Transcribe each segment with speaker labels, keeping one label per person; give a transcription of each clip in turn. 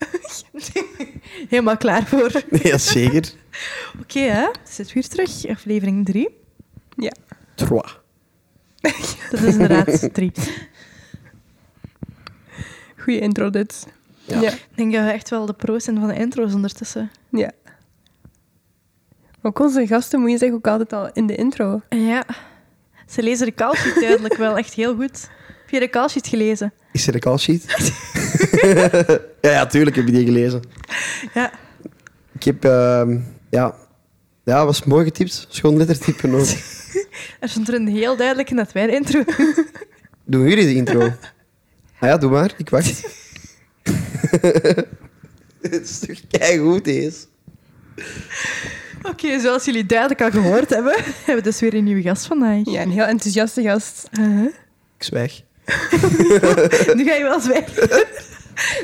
Speaker 1: Yes. Helemaal klaar voor. Oké,
Speaker 2: Jazeker.
Speaker 1: hè? Zit weer terug, aflevering 3.
Speaker 2: Trois.
Speaker 1: Dat is inderdaad 3. Ik
Speaker 3: Goeie intro dit.
Speaker 2: Ja.
Speaker 3: ja.
Speaker 1: denk dat we echt wel de pro's zijn van de intro's ondertussen.
Speaker 3: Ja. Maar ook onze gasten moet je zeggen ook altijd al in de intro.
Speaker 1: Ah, Ja. Ze lezen de callsheet duidelijk wel echt heel goed. Heb je de callsheet gelezen?
Speaker 2: Is er een call sheet? ja, ja, tuurlijk heb je die gelezen.
Speaker 1: Ja.
Speaker 2: Ik heb, ehm, ja, ja, was mooi getypt. Schoon lettertypen ook.
Speaker 1: Er stond er een heel duidelijk in dat wij de intro.
Speaker 2: Doen jullie de intro? Ah ja, doe maar. Ik wacht. Het is toch keigoed, deze?
Speaker 1: Oké, zoals jullie duidelijk al gehoord hebben, hebben we dus weer een nieuwe gast vandaag.
Speaker 3: Ja, een heel enthousiaste gast.
Speaker 1: Uh-huh.
Speaker 2: Ik zwijg.
Speaker 1: Nu ga je wel zwijgen.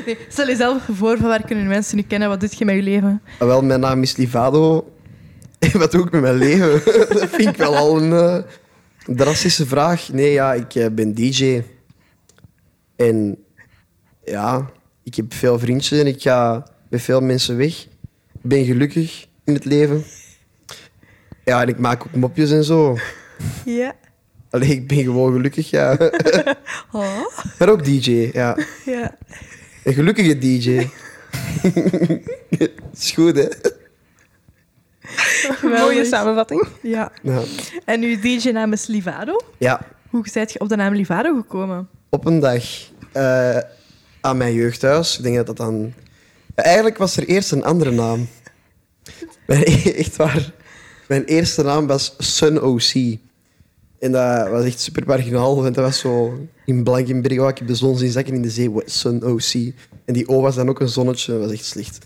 Speaker 1: Nee, stel jezelf voor, van waar kunnen mensen nu kennen? Wat doet je met je leven?
Speaker 2: Ah, wel, mijn naam is Livado. En wat doe ik met mijn leven? Dat vind ik wel al een eh, drastische vraag. Nee, ja, ik eh, ben DJ. En ja, ik heb veel vriendjes en ik ga met veel mensen weg. Ik ben gelukkig in het leven. Ja, en ik maak ook mopjes en zo.
Speaker 1: Ja.
Speaker 2: Alleen ik ben gewoon gelukkig, ja.
Speaker 1: Oh.
Speaker 2: Maar ook DJ, ja.
Speaker 1: Ja.
Speaker 2: Een gelukkige DJ. is goed, hè?
Speaker 3: Mooie samenvatting.
Speaker 1: Ja.
Speaker 2: Ja.
Speaker 1: En uw DJ-naam is Livado.
Speaker 2: ja.
Speaker 1: Hoe zijt je op de naam Livado gekomen?
Speaker 2: op een dag eh, aan mijn jeugdhuis. Ik denk dat dat dan. Eigenlijk was er eerst een andere naam. Mijn, e- echt waar. Mijn eerste naam was Sun OC. En dat was echt super marginaal, want dat was zo in Blankenberg. Ik heb de zon zien zakken in de zee, Wat, Sun OC. En die O was dan ook een zonnetje, dat was echt slecht.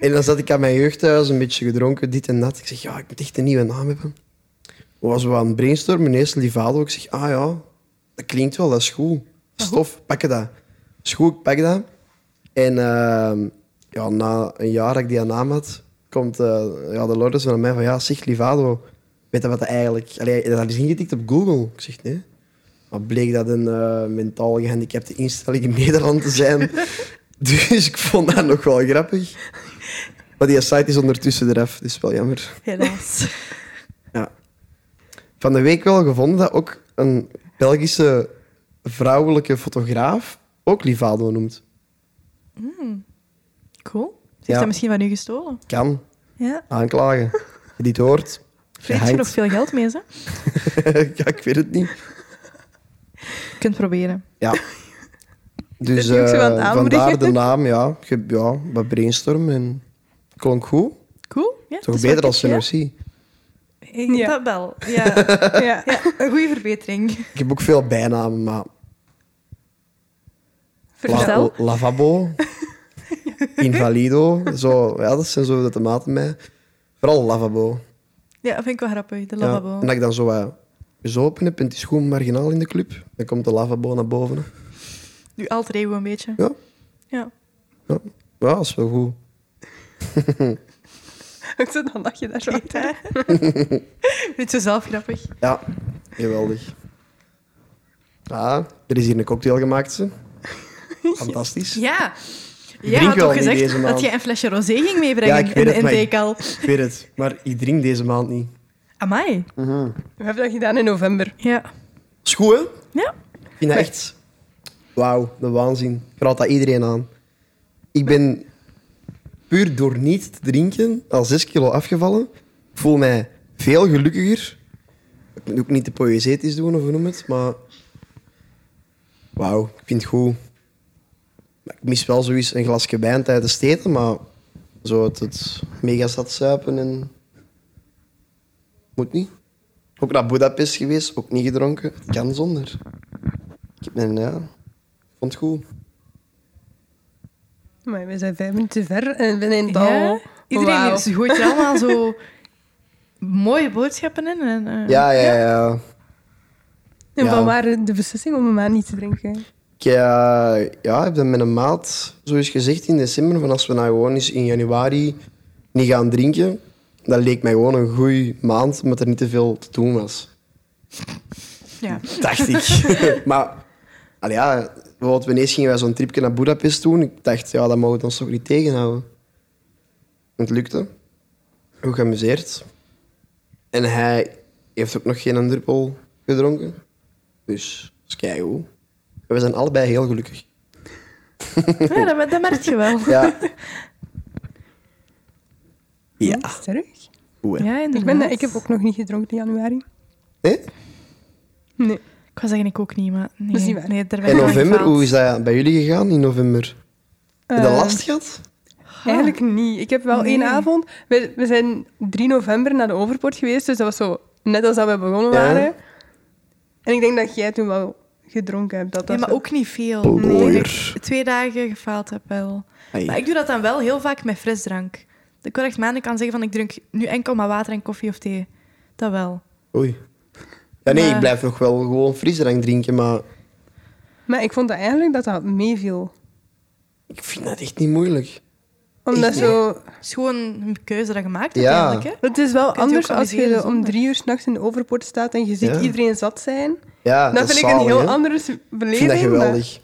Speaker 2: En dan zat ik aan mijn jeugdhuis, een beetje gedronken, dit en dat. Ik zeg, ja, ik moet echt een nieuwe naam hebben. We was we aan het brainstormen, eerst Livado. Ik zeg, ah ja, dat klinkt wel, dat is goed. Stof, pak dat. Is goed, ik pak dat. En ehm, ja, na een jaar dat ik die aan naam had, komt eh, ja, de Lourdes naar mij van, ja, zeg, Livado, weet je wat dat eigenlijk... Allee, dat is ingetikt op Google. Ik zeg, nee. Maar bleek dat een eh, mentaal gehandicapte instelling in Nederland te zijn. dus ik vond dat nog wel grappig. Maar die site is ondertussen eraf, dus wel jammer
Speaker 1: Helaas.
Speaker 2: van de week wel gevonden dat ook een Belgische vrouwelijke fotograaf ook Livado noemt.
Speaker 1: Cool. Heeft
Speaker 2: Ja.
Speaker 1: dat misschien van u gestolen?
Speaker 2: Kan.
Speaker 1: Ja.
Speaker 2: Aanklagen. Je dit hoort.
Speaker 1: Vreet je nog veel geld mee, hè?
Speaker 2: gehangt. ja, ik weet het niet.
Speaker 1: Je kunt proberen.
Speaker 2: Ja. Dus
Speaker 3: Dat doe ik zo aan het
Speaker 2: eh,
Speaker 3: aanmoedigen.
Speaker 2: vandaar de naam, ja. Ik heb ja, wat brainstormen en klonk goed.
Speaker 1: Cool. Ja,
Speaker 2: Toch beter als NOC.
Speaker 3: Ja.
Speaker 1: Dat wel. Ja.
Speaker 3: Ja.
Speaker 1: ja. Een goede verbetering.
Speaker 2: Ik heb ook veel bijnamen, maar...
Speaker 1: Vertel.
Speaker 2: La- lavabo. Invalido. Zo, ja, dat zijn zo de maten mij. Vooral lavabo.
Speaker 1: Ja, vind ik wel grappig. De
Speaker 2: Ja, Nou.
Speaker 1: lavabo.
Speaker 2: en dat ik dan zo wat eens open heb en het is gewoon marginaal in de club. Dan komt de lavabo naar boven. hè.
Speaker 1: Nu alter ego een beetje.
Speaker 2: Ja.
Speaker 1: Ja.
Speaker 2: Ja, ja dat is wel goed.
Speaker 3: Ook zo, dan lach je daar zo
Speaker 1: Kijk,
Speaker 3: achter.
Speaker 1: hè. Vind je het zo zelf grappig?
Speaker 2: Ja, geweldig. Ah, er is hier een cocktail gemaakt. Ze. Fantastisch.
Speaker 1: Ja.
Speaker 2: drink
Speaker 1: Jij had
Speaker 2: wel
Speaker 1: toch
Speaker 2: niet deze
Speaker 1: gezegd
Speaker 2: maand.
Speaker 1: dat je een flesje rosé ging meebrengen
Speaker 2: Ja, ik weet
Speaker 1: in de
Speaker 2: het, maar ik-
Speaker 1: intake al.
Speaker 2: Ik weet het, maar ik drink deze maand niet.
Speaker 1: Amai.
Speaker 3: We hebben dat gedaan in november.
Speaker 1: Ja.
Speaker 2: Is goed, hè?
Speaker 1: Ja.
Speaker 2: Ik vind dat echt... Wauw, de waanzin. Ik raad dat iedereen aan. Ik ben puur door niet te drinken al 6 kilo afgevallen. Ik voel mij veel gelukkiger. Ik moet ook niet te poëzetisch doen, of hoe noem het, maar... Wauw, ik vind het goed. Maar ik mis wel zoiets een glasje wijn tijdens het eten, maar... Zo het, het megastad zuipen en... Moet niet. Ook naar Budapest geweest, ook niet gedronken. Het kan zonder. Ik heb mijn, ja... Ik vond het goed.
Speaker 3: Maar we zijn vijf minuten ver en we zijn
Speaker 1: Ja.
Speaker 3: al...
Speaker 1: Iedereen
Speaker 3: Wauw.
Speaker 1: ze gooit er allemaal zo mooie boodschappen in. En, eh,
Speaker 2: Ja, ja, ja.
Speaker 3: En
Speaker 2: Ja.
Speaker 3: van waar de beslissing om een maand niet te drinken?
Speaker 2: Ik eh, ja, heb dat met een maat, zoals gezegd, in december. Van als we nou gewoon eens in januari niet gaan drinken, dat leek mij gewoon een goede maand, omdat er niet te veel te doen was.
Speaker 1: ja.
Speaker 2: Dacht ik. maar allee, ja, bijvoorbeeld, ineens gingen wij zo'n tripje naar Budapest doen. Ik dacht, ja, dat mogen we ons toch niet tegenhouden. Het lukte. Goed geamuseerd. En hij heeft ook nog geen druppel gedronken. Dus dat is keigoed. We zijn allebei heel gelukkig.
Speaker 1: Ja, dat, dat merk je wel.
Speaker 2: Ja. ja.
Speaker 3: Sterk.
Speaker 2: Goed, hè?
Speaker 1: Ja,
Speaker 3: Ik, ben, ik heb ook nog niet gedronken in januari.
Speaker 2: Nee?
Speaker 3: Nee.
Speaker 1: Ik was zeggen, ik ook niet, maar... Nee,
Speaker 3: Dat is niet waar.
Speaker 1: Nee, daar ben
Speaker 2: In
Speaker 1: ik nog
Speaker 2: november,
Speaker 1: gefaald.
Speaker 2: hoe is dat bij jullie gegaan in november? Heb je dat
Speaker 3: Eh,
Speaker 2: last gehad?
Speaker 1: Ah.
Speaker 3: Eigenlijk niet. Ik heb wel één
Speaker 1: Nee.
Speaker 3: avond. We, we zijn 3 november naar de Overpoort geweest, dus dat was zo net als dat we begonnen
Speaker 2: Ja.
Speaker 3: waren. En ik denk dat jij toen wel gedronken hebt. Dat
Speaker 1: Nee,
Speaker 3: was
Speaker 1: maar
Speaker 3: wel-
Speaker 1: ook niet veel.
Speaker 2: Plooier.
Speaker 1: Nee, ik denk twee dagen gefaald heb wel.
Speaker 2: Ai.
Speaker 1: Maar ik doe dat dan wel heel vaak met frisdrank. Ik wil echt maanden kan zeggen van ik drink nu enkel maar water en koffie of thee. Dat wel.
Speaker 2: Oei. Ja, nee,
Speaker 1: Maar-
Speaker 2: ik blijf nog wel gewoon frisdrank drinken, maar
Speaker 3: maar ik vond dat eigenlijk dat dat meeviel.
Speaker 2: ik vind dat echt niet moeilijk.
Speaker 3: Omdat
Speaker 2: Echt niet?
Speaker 3: zo...
Speaker 1: Het is gewoon een keuze dat je maakt
Speaker 2: Ja.
Speaker 1: uiteindelijk. Hè?
Speaker 3: Het is wel
Speaker 1: Kunt je
Speaker 3: anders
Speaker 1: ook
Speaker 3: als je
Speaker 1: amuseren
Speaker 3: zo om
Speaker 1: zonder.
Speaker 3: drie uur s'nachts in de Overpoort staat en je ziet
Speaker 2: Ja.
Speaker 3: iedereen zat zijn.
Speaker 2: Ja,
Speaker 3: Dat
Speaker 2: is
Speaker 3: vind ik een
Speaker 2: zalig,
Speaker 3: heel
Speaker 2: hè?
Speaker 3: andere s-
Speaker 2: Ik
Speaker 3: beleving.
Speaker 2: vind dat
Speaker 3: maar-
Speaker 2: geweldig.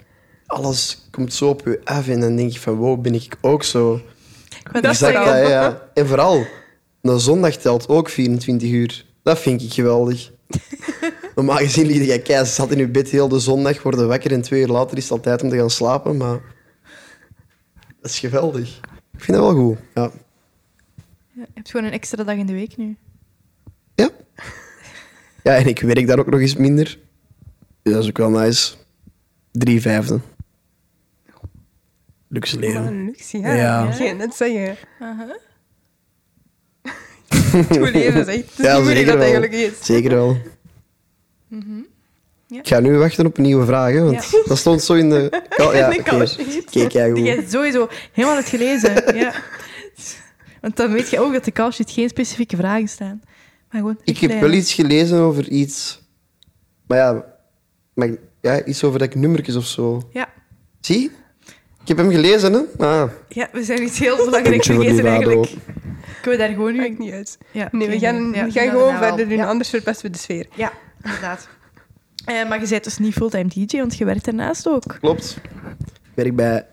Speaker 2: Alles komt zo op je af en dan denk je van wow, ben ik ook zo.
Speaker 1: Ik wil
Speaker 3: Dat
Speaker 1: dat
Speaker 3: is
Speaker 2: Exact,
Speaker 1: zeggen.
Speaker 3: wel-
Speaker 2: hè, ja. En vooral, een zondag telt ook 24 uur. Dat vind ik geweldig. Normaal gezien liet jij keihard zat in je bed heel de zondag, worden wakker en twee uur later is het al tijd om te gaan slapen, maar... Dat is geweldig. Ik vind dat wel goed, ja.
Speaker 1: Ja, je hebt gewoon een extra dag in de week nu.
Speaker 2: Ja. Ja, en ik werk daar ook nog eens minder. Dus dat is ook wel nice. Drie vijfde. Luxe
Speaker 3: Wat
Speaker 2: leven.
Speaker 3: een luxe, ja.
Speaker 2: Ja.
Speaker 3: Ik ging net zeggen.
Speaker 1: Aha.
Speaker 3: Het goede leven is echt... Het is
Speaker 2: Ja,
Speaker 3: niet
Speaker 2: zeker
Speaker 3: moeilijk dat het
Speaker 2: wel.
Speaker 3: eigenlijk is.
Speaker 2: Zeker wel.
Speaker 1: Ja.
Speaker 2: Ik ga nu wachten op nieuwe vragen, want dat stond zo in de... Oh, ja,
Speaker 1: In de
Speaker 2: oké.
Speaker 1: cover.
Speaker 2: Kijk, jij
Speaker 1: Die
Speaker 2: goed.
Speaker 1: hebt sowieso helemaal het gelezen. ja. Want dan weet je ook dat de callsheet geen specifieke vragen staan. Maar eh, gewoon
Speaker 2: Ik heb wel
Speaker 1: richtlijnen.
Speaker 2: iets gelezen over iets... Maar ja, maar, ja iets over dat ik nummertjes of zo...
Speaker 1: Ja.
Speaker 2: Zie? Ik heb hem gelezen, hè? Ah,
Speaker 1: ja, we zijn iets heel belangrijks
Speaker 2: puntje voor die
Speaker 1: vergeten
Speaker 2: vader
Speaker 1: eigenlijk.
Speaker 2: ook.
Speaker 1: Kunnen we daar gewoon
Speaker 3: Nu
Speaker 1: nu...
Speaker 3: ik niet uit.
Speaker 1: Ja,
Speaker 3: Nee, we
Speaker 1: oké,
Speaker 3: gaan,
Speaker 1: ja,
Speaker 3: we gaan
Speaker 1: ja,
Speaker 3: gewoon
Speaker 1: daarna wel.
Speaker 3: verder doen,
Speaker 1: Ja.
Speaker 3: anders verpesten we de sfeer.
Speaker 1: Ja, inderdaad. Eh, maar je bent dus niet fulltime DJ, want je werkt daarnaast ook.
Speaker 2: Klopt. Ik werk bij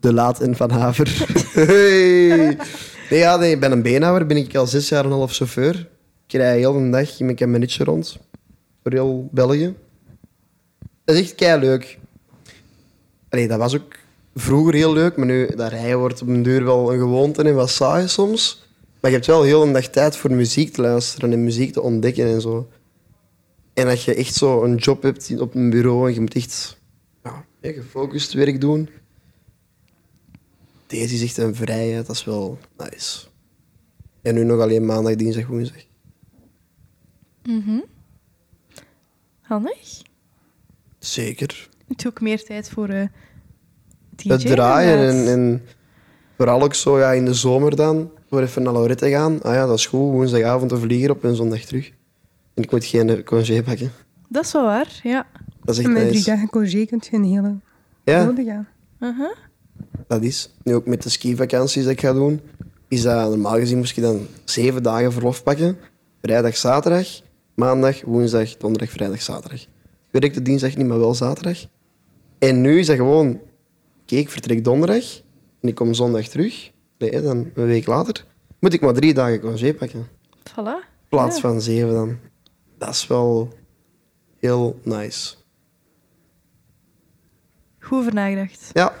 Speaker 2: De Laat en Van Haver. Hey. Nee, ja, nee, ik ben een beenhouwer. Ben ik al zes jaar en een half chauffeur. Ik rij heel de dag met een minuutje rond. Door heel België. Dat is echt kei leuk. Allee, dat was ook vroeger heel leuk, maar nu dat rijden wordt op een duur wel een gewoonte en wat saai soms. Maar je hebt wel heel een dag tijd voor muziek te luisteren en muziek te ontdekken en zo. En dat je echt zo een job hebt op een bureau en je moet echt ja, hè, gefocust werk doen. Deze is echt een vrijheid, dat is wel nice. En nu nog alleen maandag, dinsdag, woensdag.
Speaker 3: Mhm.
Speaker 1: Handig.
Speaker 2: Zeker.
Speaker 1: Het is ook meer tijd voor eh DJ.
Speaker 2: Het draaien en,
Speaker 1: inderdaad.
Speaker 2: en vooral ook zo ja, in de zomer dan, voor even naar Lorette gaan. Ah ja, dat is goed, woensdagavond een vlieger op en zondag terug. En ik moet geen eh, congé pakken.
Speaker 1: Dat is wel waar, ja.
Speaker 2: Dat is echt
Speaker 3: En met drie
Speaker 2: nice.
Speaker 3: dagen congé kunt je een hele
Speaker 2: Ja,
Speaker 3: wilde gaan.
Speaker 1: Aha.
Speaker 2: dat is. Nu ook met de skivakanties dat ik ga doen, is dat normaal gezien moest je dan zeven dagen verlof pakken. Vrijdag, zaterdag, maandag, woensdag, donderdag, vrijdag, zaterdag. Ik werkte dinsdag niet, maar wel zaterdag. En nu is dat gewoon, oké, ik vertrek donderdag en ik kom zondag terug. Nee, dan een week later moet ik maar drie dagen congé pakken. In
Speaker 1: Voilà.
Speaker 2: plaats
Speaker 1: Ja.
Speaker 2: van zeven dan. Dat is wel heel nice.
Speaker 1: Goed over nagedacht.
Speaker 2: Ja.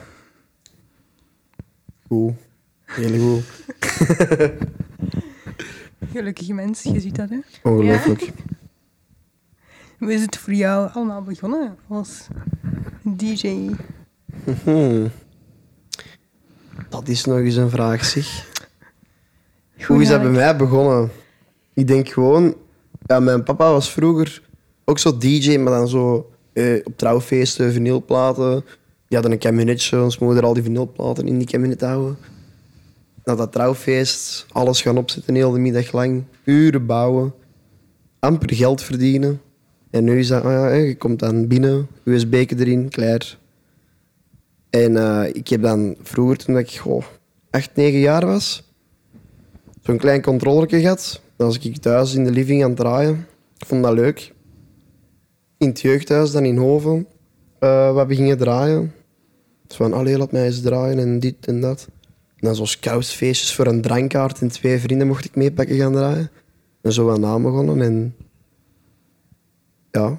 Speaker 2: Goed. Heel goed.
Speaker 3: Gelukkige mens, je ziet dat, hè.
Speaker 2: Ongelooflijk.
Speaker 3: Hoe is het voor jou allemaal begonnen als DJ?
Speaker 2: Hmm. Dat is nog eens een vraag, zeg. Hoe is dat bij mij begonnen? Ik denk gewoon... Ja, mijn papa was vroeger ook zo DJ, maar dan zo eh, op trouwfeesten, vinylplaten. Die hadden een kabinetje, ons moeder al die vinylplaten in die kabinet houden. Na dat trouwfeest, alles gaan opzetten heel de middag lang. Uren bouwen. Amper geld verdienen. En nu is dat... ah ja, hè, je komt dan binnen, USB-ken erin, klaar. En eh, ik heb dan vroeger, toen ik goh, 8, 9 jaar was, zo'n klein controllerke gehad. Dan was ik thuis in de living aan het draaien. Ik vond dat leuk. In het jeugdhuis, dan in Hoven. eh, wat we gingen draaien. Dus van, allee, laat mij eens draaien en dit en dat. En dan zo scoutsfeestjes voor een drankkaart en twee vrienden mocht ik meepakken gaan draaien. En zo aan naam begonnen en... Ja.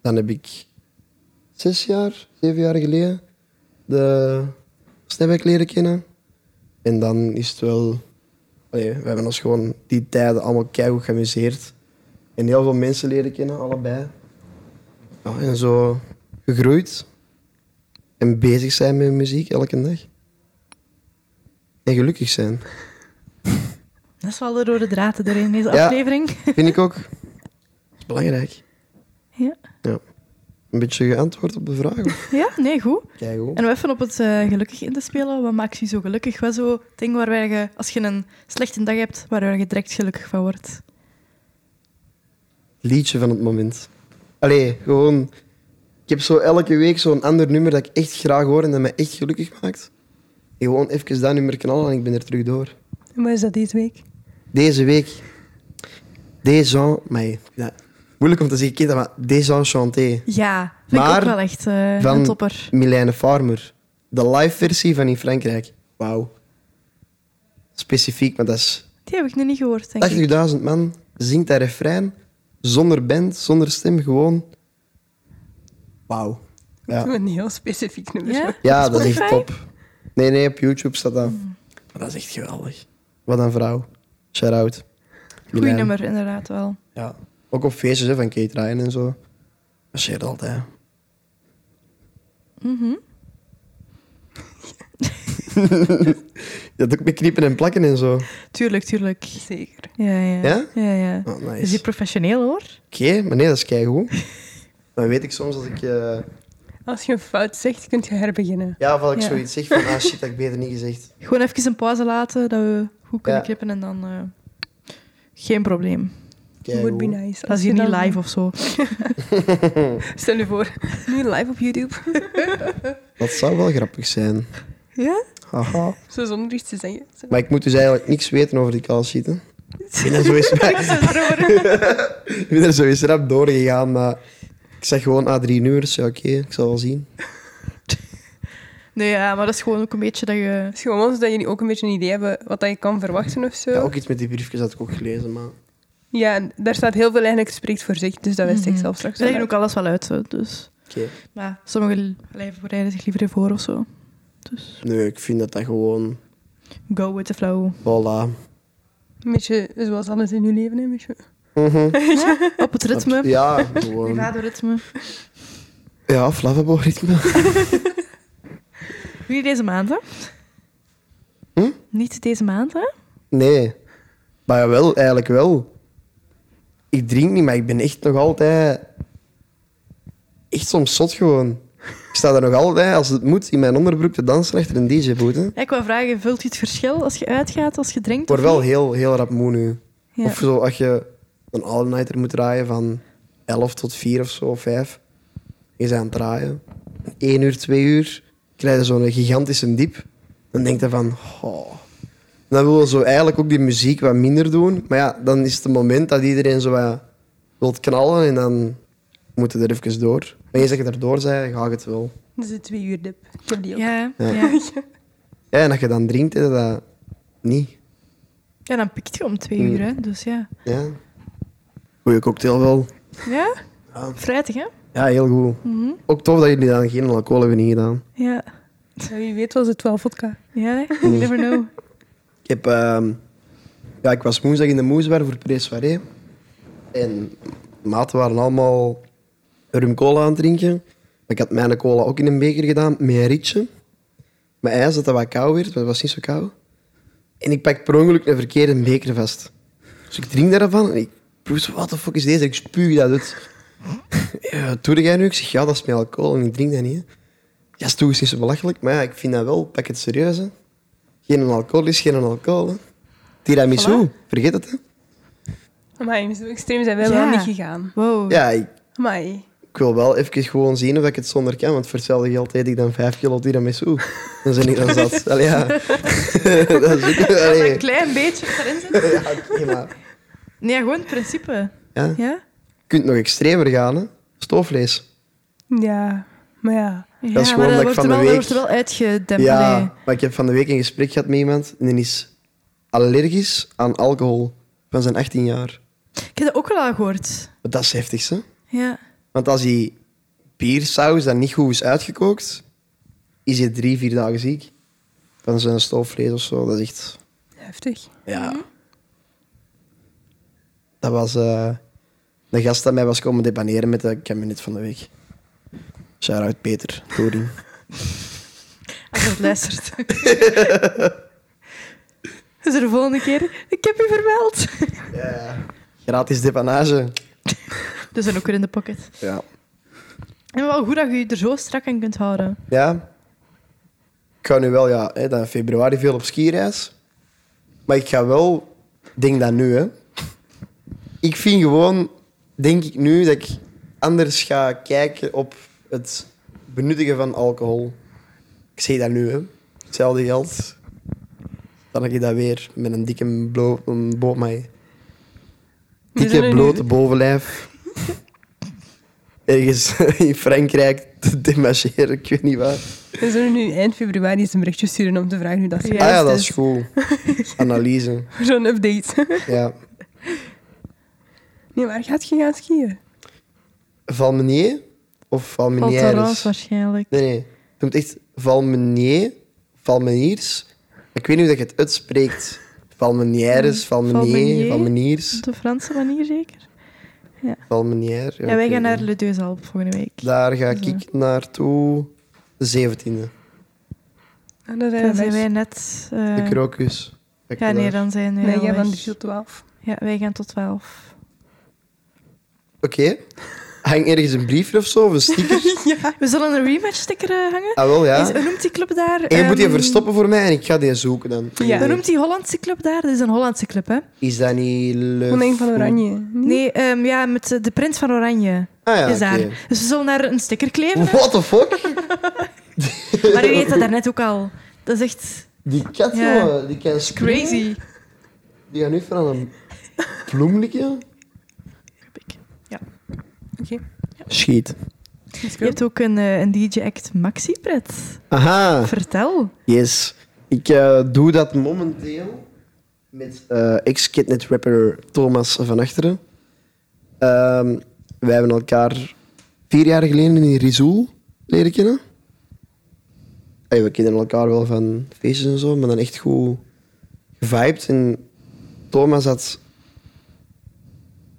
Speaker 2: Dan heb ik zes jaar, zeven jaar geleden de Snapback leren kennen. En dan is het wel... Allee, we hebben ons gewoon die tijden allemaal keihard geamuseerd. En heel veel mensen leren kennen, allebei. Ja, en zo gegroeid. En bezig zijn met muziek elke dag. En gelukkig zijn.
Speaker 1: Dat is wel de rode draad er in deze
Speaker 2: Ja.
Speaker 1: aflevering.
Speaker 2: Vind ik ook. Dat is belangrijk.
Speaker 1: Ja.
Speaker 2: ja. Een beetje geantwoord op de vraag.
Speaker 1: Ja, nee, goed.
Speaker 2: Kijk
Speaker 1: En om even op het eh, gelukkig in te spelen, wat maakt je zo gelukkig? Wat zo ding waar je, als je een slechte dag hebt, waar je direct gelukkig van wordt?
Speaker 2: Liedje van het moment. Allee, gewoon. Ik heb zo elke week zo'n ander nummer dat ik echt graag hoor en dat mij echt gelukkig maakt. En gewoon even dat nummer knallen en ik ben er terug door.
Speaker 3: En wat is dat deze week?
Speaker 2: Deze week. Désenchanté. Ja. Moeilijk om te zeggen, kind, maar Désenchanté.
Speaker 1: Ja, vind ik
Speaker 2: Maar
Speaker 1: ook wel echt eh,
Speaker 2: van-
Speaker 1: een topper.
Speaker 2: Milène Farmer. De live versie van in Frankrijk. Wauw. Specifiek, maar dat is
Speaker 1: Die heb ik nog niet gehoord, denk ik.
Speaker 2: 80.000 man. Zingt dat refrein. Zonder band, zonder stem, gewoon. Wauw. Ja.
Speaker 3: Een heel specifiek nummer.
Speaker 1: Ja?
Speaker 2: Ja, dat is echt
Speaker 1: Spotify? Hmm.
Speaker 2: top. Nee, nee, op YouTube staat dat. Maar dat is echt geweldig. Wat een vrouw. Shout-out.
Speaker 1: Goeie
Speaker 2: Milène.
Speaker 1: nummer, inderdaad wel.
Speaker 2: Ja. Ook op feestjes hè, van Kate Ryan en zo. Dat shit altijd.
Speaker 1: Mhm.
Speaker 2: Dat ook met knippen en plakken en zo.
Speaker 1: Tuurlijk, tuurlijk.
Speaker 3: Zeker.
Speaker 1: Ja, ja.
Speaker 2: Ja?
Speaker 1: ja, ja.
Speaker 2: Oh,
Speaker 1: Is die
Speaker 2: nice.
Speaker 1: professioneel, hoor.
Speaker 2: Oké, maar nee, dat is keigoed. Dan weet ik soms als ik... eh,
Speaker 3: Als je een fout zegt, kun je herbeginnen.
Speaker 2: ja, of als ik
Speaker 1: Ja.
Speaker 2: zoiets zeg van... Ah, shit, dat ik beter niet gezegd.
Speaker 1: Gewoon even een pauze laten, dat we goed kunnen
Speaker 2: Ja.
Speaker 1: knippen en dan... eh, geen probleem.
Speaker 3: Would be
Speaker 2: Keigoed.
Speaker 3: nice.
Speaker 1: Dat is hier
Speaker 3: je
Speaker 1: niet
Speaker 3: dan-
Speaker 1: live of zo.
Speaker 3: Stel je voor, nu live op YouTube.
Speaker 2: Dat zou wel grappig zijn.
Speaker 3: Ja?
Speaker 2: Haha.
Speaker 3: Zo zonder iets te zeggen. Zo.
Speaker 2: Maar ik moet dus eigenlijk niks weten over die call sheet, hè. Ik ben er zo eens, ik ben er zo eens rap doorgegaan, maar... Ik zeg gewoon, ah, drie nummers. Ja, oké, ik zal wel zien.
Speaker 1: Nee, ja, maar dat is gewoon ook een beetje dat je...
Speaker 3: Het is gewoon zodat jullie ook een beetje een idee hebben wat dat je kan verwachten of zo.
Speaker 2: Ja, ook iets met die briefjes had ik ook gelezen, maar...
Speaker 3: Ja, en daar staat heel veel eigenlijk spreekt voor zich, dus dat wist ik
Speaker 1: Mhm.
Speaker 3: zelf straks
Speaker 1: Ze
Speaker 3: wel
Speaker 1: leggen ook
Speaker 3: uit.
Speaker 1: alles wel uit, hè, dus...
Speaker 2: Oké.
Speaker 1: Maar sommigen blijven bereiden zich liever voor of zo. Dus
Speaker 2: Nee, ik vind dat dat gewoon...
Speaker 1: go with the flow.
Speaker 2: Voilà.
Speaker 3: Een beetje zoals alles in je leven, hè, een beetje.
Speaker 2: Mhm.
Speaker 1: Op het ritme.
Speaker 2: Ja, gewoon.
Speaker 1: Privado-ritme.
Speaker 2: Ja, flavabo-ritme.
Speaker 1: Niet deze maand, hè?
Speaker 2: Hm?
Speaker 1: Niet deze maand, hè?
Speaker 2: Nee. Maar jawel, eigenlijk wel. Ik drink niet, maar ik ben echt nog altijd... Echt soms zot gewoon. Ik sta er nog altijd, als het moet, in mijn onderbroek te dansen achter een dj-boot. hè. Ik
Speaker 1: Ja, ik wou vragen, vult je het verschil als je uitgaat, als je drinkt?
Speaker 2: word
Speaker 1: of
Speaker 2: wel
Speaker 1: niet?
Speaker 2: heel, heel rap moe nu.
Speaker 1: Ja.
Speaker 2: Of zo, als je een all-nighter moet draaien van 11 tot 4 of zo, of 5. Je bent aan het draaien. 1 uur, 2 uur, krijg je zo'n gigantische diep. Dan denk je van, oh. Dan wil je zo eigenlijk ook die muziek wat minder doen. Maar ja, dan is het het moment dat iedereen zo wat wilt knallen en dan moet je er even door. Maar eens dat je erdoor bent, ga ik het wel.
Speaker 3: Dat is een twee uur dip. Ik heb die ook.
Speaker 1: Ja,
Speaker 2: Ja.
Speaker 1: ja. ja.
Speaker 2: Ja, en als je dan drinkt, hè, dat niet.
Speaker 1: dan pikt je om twee
Speaker 2: Hmm.
Speaker 1: uur, hè? Dus ja.
Speaker 2: Ja. Goeie cocktail wel.
Speaker 1: Ja?
Speaker 2: Ja.
Speaker 1: Vrijdag, hè?
Speaker 2: Ja, heel goed.
Speaker 1: Mhm.
Speaker 2: Ook tof dat jullie dan geen alcohol hebben ingedaan.
Speaker 1: Ja.
Speaker 3: Ja, Wie weet was het wel vodka.
Speaker 1: Ja, hè?
Speaker 2: Hm.
Speaker 1: you never know.
Speaker 2: Ik, heb, ehm, ja, ik was woensdag in de Moesbar voor Pre-Soirée. En maten waren allemaal rum cola aan het drinken. Maar ik had mijn cola ook in een beker gedaan, met een rietje. Mijn ijs, dat dat wat koud werd, maar het was niet zo koud. En ik pak per ongeluk een verkeerde beker vast. Dus ik drink daarvan en ik proef zo, wat de fuck is deze? Ik spuug dat uit. Ja, wat doe jij nu? Ik zeg, ja, dat is met alcohol en ik drink dat niet. hè. Ja, is toch niet zo belachelijk, maar ja, ik vind dat wel, pak het serieus. Hè. Geen alcohol is geen alcohol. Hè. Tiramisu, vergeet het. Hè.
Speaker 3: Amai, zo extreem zijn wij
Speaker 1: Ja.
Speaker 3: wel niet gegaan.
Speaker 1: Wow.
Speaker 2: Ja, ik,
Speaker 3: Amai.
Speaker 2: ik wil wel even gewoon zien of ik het zonder kan, want voor hetzelfde geld eet ik dan 5 kilo tiramisu. Dan zijn ik dan zat. Allee, ja. dat is ook...
Speaker 1: Als dat
Speaker 2: Allee.
Speaker 1: een klein beetje erin zit.
Speaker 2: Ja, oké, maar...
Speaker 1: Nee, gewoon het principe.
Speaker 2: Ja.
Speaker 1: Ja?
Speaker 2: Je kunt nog extremer gaan, hè. Stoofvlees.
Speaker 3: Ja, maar ja.
Speaker 1: Ja,
Speaker 2: Dat is gewoon
Speaker 1: maar
Speaker 2: dat ik
Speaker 1: wordt
Speaker 2: van
Speaker 1: er
Speaker 2: de
Speaker 1: wel,
Speaker 2: week-
Speaker 1: wordt er wel uitgedempt.
Speaker 2: Ja,
Speaker 1: allee.
Speaker 2: maar ik heb van de week een gesprek gehad met iemand en die is allergisch aan alcohol van zijn 18 jaar.
Speaker 1: Ik heb dat ook wel al gehoord.
Speaker 2: Dat is heftig, hè?
Speaker 1: Ja.
Speaker 2: Want als die biersaus dan niet goed is uitgekookt, is hij drie, vier dagen ziek. Van zijn stoofvlees of zo. Dat is echt...
Speaker 3: Heftig.
Speaker 2: Ja. Dat was eh de gast dat mij was komen debaneren met de kabinet van de week. Shout-out Peter Toring.
Speaker 1: Als je het luistert. Dus er de volgende keer, ik heb je vermeld.
Speaker 2: Gratis depanage.
Speaker 1: Dus dan ook weer in de pocket.
Speaker 2: Ja.
Speaker 1: En wel goed dat je je er zo strak aan kunt houden.
Speaker 2: Ja. Ik ga nu wel, ja, hè, dan in februari veel op skireis. Maar ik ga wel, ik denk dat nu, hè. Ik vind gewoon, denk ik nu, dat ik anders ga kijken op het benuttigen van alcohol. Ik zeg dat nu, hè. Hetzelfde geld. Dan heb ik dat weer met een dikke blo- een bo- mij.
Speaker 3: zijn
Speaker 2: Dikke
Speaker 3: er nu-
Speaker 2: blote bovenlijf. Ergens in Frankrijk te demacheren, ik weet niet waar.
Speaker 3: We zullen nu eind februari eens een berichtje sturen om te vragen hoe dat
Speaker 1: Ja.
Speaker 3: gaat.
Speaker 2: ah ja,
Speaker 1: juist
Speaker 2: dat
Speaker 1: is.
Speaker 2: is cool. Analyse.
Speaker 3: Zo'n update.
Speaker 2: Ja.
Speaker 3: Nee, waar gaat je gaan skiën?
Speaker 2: Valmenier of
Speaker 1: Valterras
Speaker 2: Valmeniers?
Speaker 1: waarschijnlijk.
Speaker 2: Nee, nee. Het noemt echt Valmenier, Valmeniers. Ik weet niet hoe dat je het uitspreekt. Valmeniers,
Speaker 1: Valmenier.
Speaker 2: Valmenier, Valmeniers,
Speaker 1: Op de Franse manier zeker.
Speaker 2: Valmenier.
Speaker 1: Ja, wij
Speaker 2: ik
Speaker 1: gaan
Speaker 2: weet
Speaker 1: naar
Speaker 2: niet.
Speaker 1: Le Deux Alpes volgende week.
Speaker 2: Daar ga
Speaker 1: Zo.
Speaker 2: ik naartoe. De 17e.
Speaker 3: Ah,
Speaker 1: Dan
Speaker 3: dat
Speaker 1: zijn
Speaker 3: wij.
Speaker 1: wij net... eh,
Speaker 2: De krokus. Ga ik
Speaker 1: ja, nee,
Speaker 2: naar.
Speaker 1: dan zijn wij
Speaker 3: Nee,
Speaker 1: al
Speaker 3: jij
Speaker 1: weg.
Speaker 3: van 3 tot 12.
Speaker 1: Ja, wij gaan tot 12.
Speaker 2: Oké. Hang ergens een briefje of zo, of een sticker.
Speaker 3: ja.
Speaker 1: Ah, We zullen een rematch sticker eh, hangen.
Speaker 2: ah, wel,
Speaker 1: Is,
Speaker 2: ja.
Speaker 1: hoe noemt die club daar?
Speaker 2: En je moet die
Speaker 1: Ehm,
Speaker 2: verstoppen voor mij en ik ga die zoeken dan.
Speaker 3: Ja.
Speaker 1: Hoe noemt die Hollandse club daar? Dat is een Hollandse club, hè?
Speaker 2: Is dat niet... Le
Speaker 3: Koningin van Oranje.
Speaker 1: Nee, ehm, ja, met eh, de Prins van Oranje
Speaker 2: Ah ja,
Speaker 1: is daar.
Speaker 2: oké.
Speaker 1: Dus we zullen daar een sticker kleven.
Speaker 2: What the fuck?
Speaker 1: Maar u weet dat daarnet ook al. Dat is echt
Speaker 2: Die kat,
Speaker 1: Ja.
Speaker 2: jongen, die kan springen.
Speaker 1: crazy.
Speaker 2: Die gaat nu van een bloemlikje.
Speaker 3: Oké.
Speaker 2: Schiet.
Speaker 3: let's go.
Speaker 1: Je hebt ook een, eh, een DJ-act Maxi-pret.
Speaker 2: Aha,
Speaker 1: Vertel.
Speaker 2: yes. Ik eh, doe dat momenteel met eh ex-kidnet rapper Thomas van Achteren. Ehm, wij hebben elkaar vier jaar geleden in Rizoul leren kennen. Ey, we kennen elkaar wel van feestjes en zo, maar dan echt goed gevibed. En Thomas had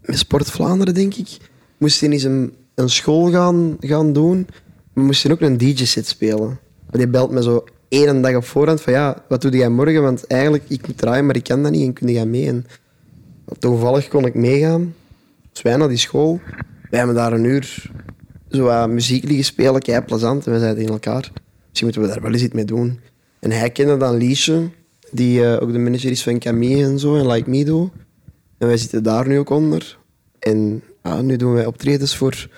Speaker 2: met Sport Vlaanderen, denk ik, moest hij eens een, een school gaan, gaan doen. Maar moest hij ook een DJ-set spelen. Maar die belt me zo één dag op voorhand van ja, wat doe jij morgen? Want eigenlijk, ik moet draaien, maar ik kan dat niet en kun je mee? En toevallig kon ik meegaan. Dus wij naar die school. Wij hebben daar een uur zo wat muziek liggen spelen, kei plezant. En we zeiden in elkaar, misschien moeten we daar wel eens iets mee doen. En hij kende dan Liesje, die eh, ook de manager is van Camille en zo, en Like Me Do. En wij zitten daar nu ook onder. En ja, nu doen wij optredens voor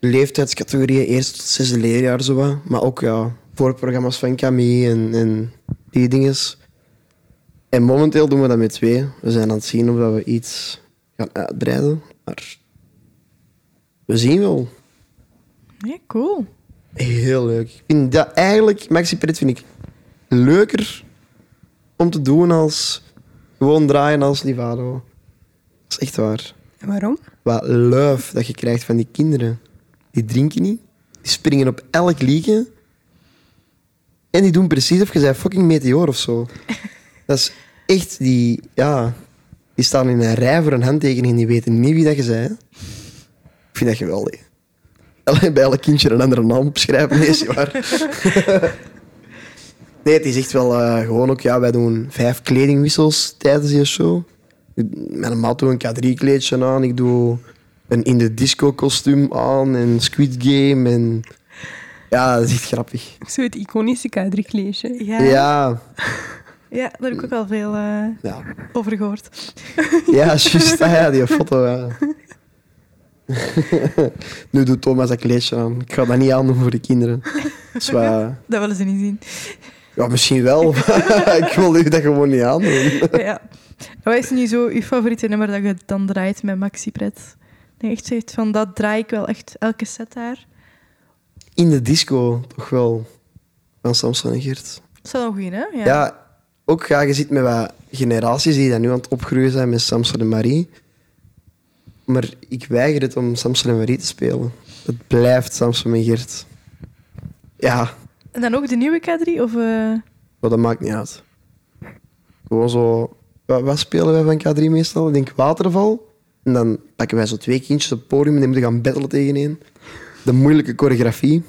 Speaker 2: leeftijdscategorieën, eerst tot zesde leerjaar zo wat. Maar ook ja, voor programma's van Camille en, en die dinges. En momenteel doen we dat met twee. We zijn aan het zien of dat we iets gaan uitbreiden. Maar we zien wel.
Speaker 1: Ja, cool.
Speaker 2: Heel leuk. Ik vind dat eigenlijk, Maxi Pret vind ik leuker om te doen als gewoon draaien als Livado. Dat is echt waar.
Speaker 3: En waarom?
Speaker 2: Wat love dat je krijgt van die kinderen. Die drinken niet, die springen op elk liedje. En die doen precies of je zei fucking meteor of zo. Dat is echt die, ja, die staan in een rij voor een handtekening en die weten niet wie dat je zei. Ik vind dat geweldig. Alleen bij elk kindje een andere naam opschrijven, nee, is niet waar. Nee, het is echt wel eh, gewoon ook, ja, wij doen vijf kledingwissels tijdens die show. Mijn maat doet een K3-kleedje aan, ik doe een in de disco kostuum aan en Squid Game en... Ja, dat is echt grappig.
Speaker 3: Zo het iconische K3-kleesje.
Speaker 1: Ja,
Speaker 2: Ja,
Speaker 1: ja.
Speaker 2: ja.
Speaker 1: daar heb ik ook al veel eh,
Speaker 2: Ja,
Speaker 1: over gehoord.
Speaker 2: juist. Ah ja, die foto, ja. nu doet Thomas dat kleedje aan. Ik ga dat niet aandoen voor de kinderen. Dus, eh,
Speaker 1: Dat willen ze niet zien.
Speaker 2: ja, misschien wel. maar ik wil u dat gewoon niet aandoen.
Speaker 1: ja. Wat is nu zo uw favoriete nummer dat je dan draait met Maxi-pret? Dat je echt zegt van dat draai ik wel echt elke set daar.
Speaker 2: In de disco, toch wel. Van Samson en Geert.
Speaker 1: Dat is wel een goeie, hè? Ja.
Speaker 2: Ja, ook ja, je ziet met wat generaties die daar nu aan het opgroeien zijn met Samson en Marie. Maar ik weiger het om Samson en Marie te spelen. Het blijft Samson en Geert. Ja,
Speaker 1: En dan ook de nieuwe K3? Of, eh,
Speaker 2: maar dat maakt niet uit. Gewoon zo... Wat, wat spelen wij van K3 meestal? Ik denk Waterval. En dan pakken wij zo twee kindjes op het podium en die moeten gaan battelen tegen één. De moeilijke choreografie.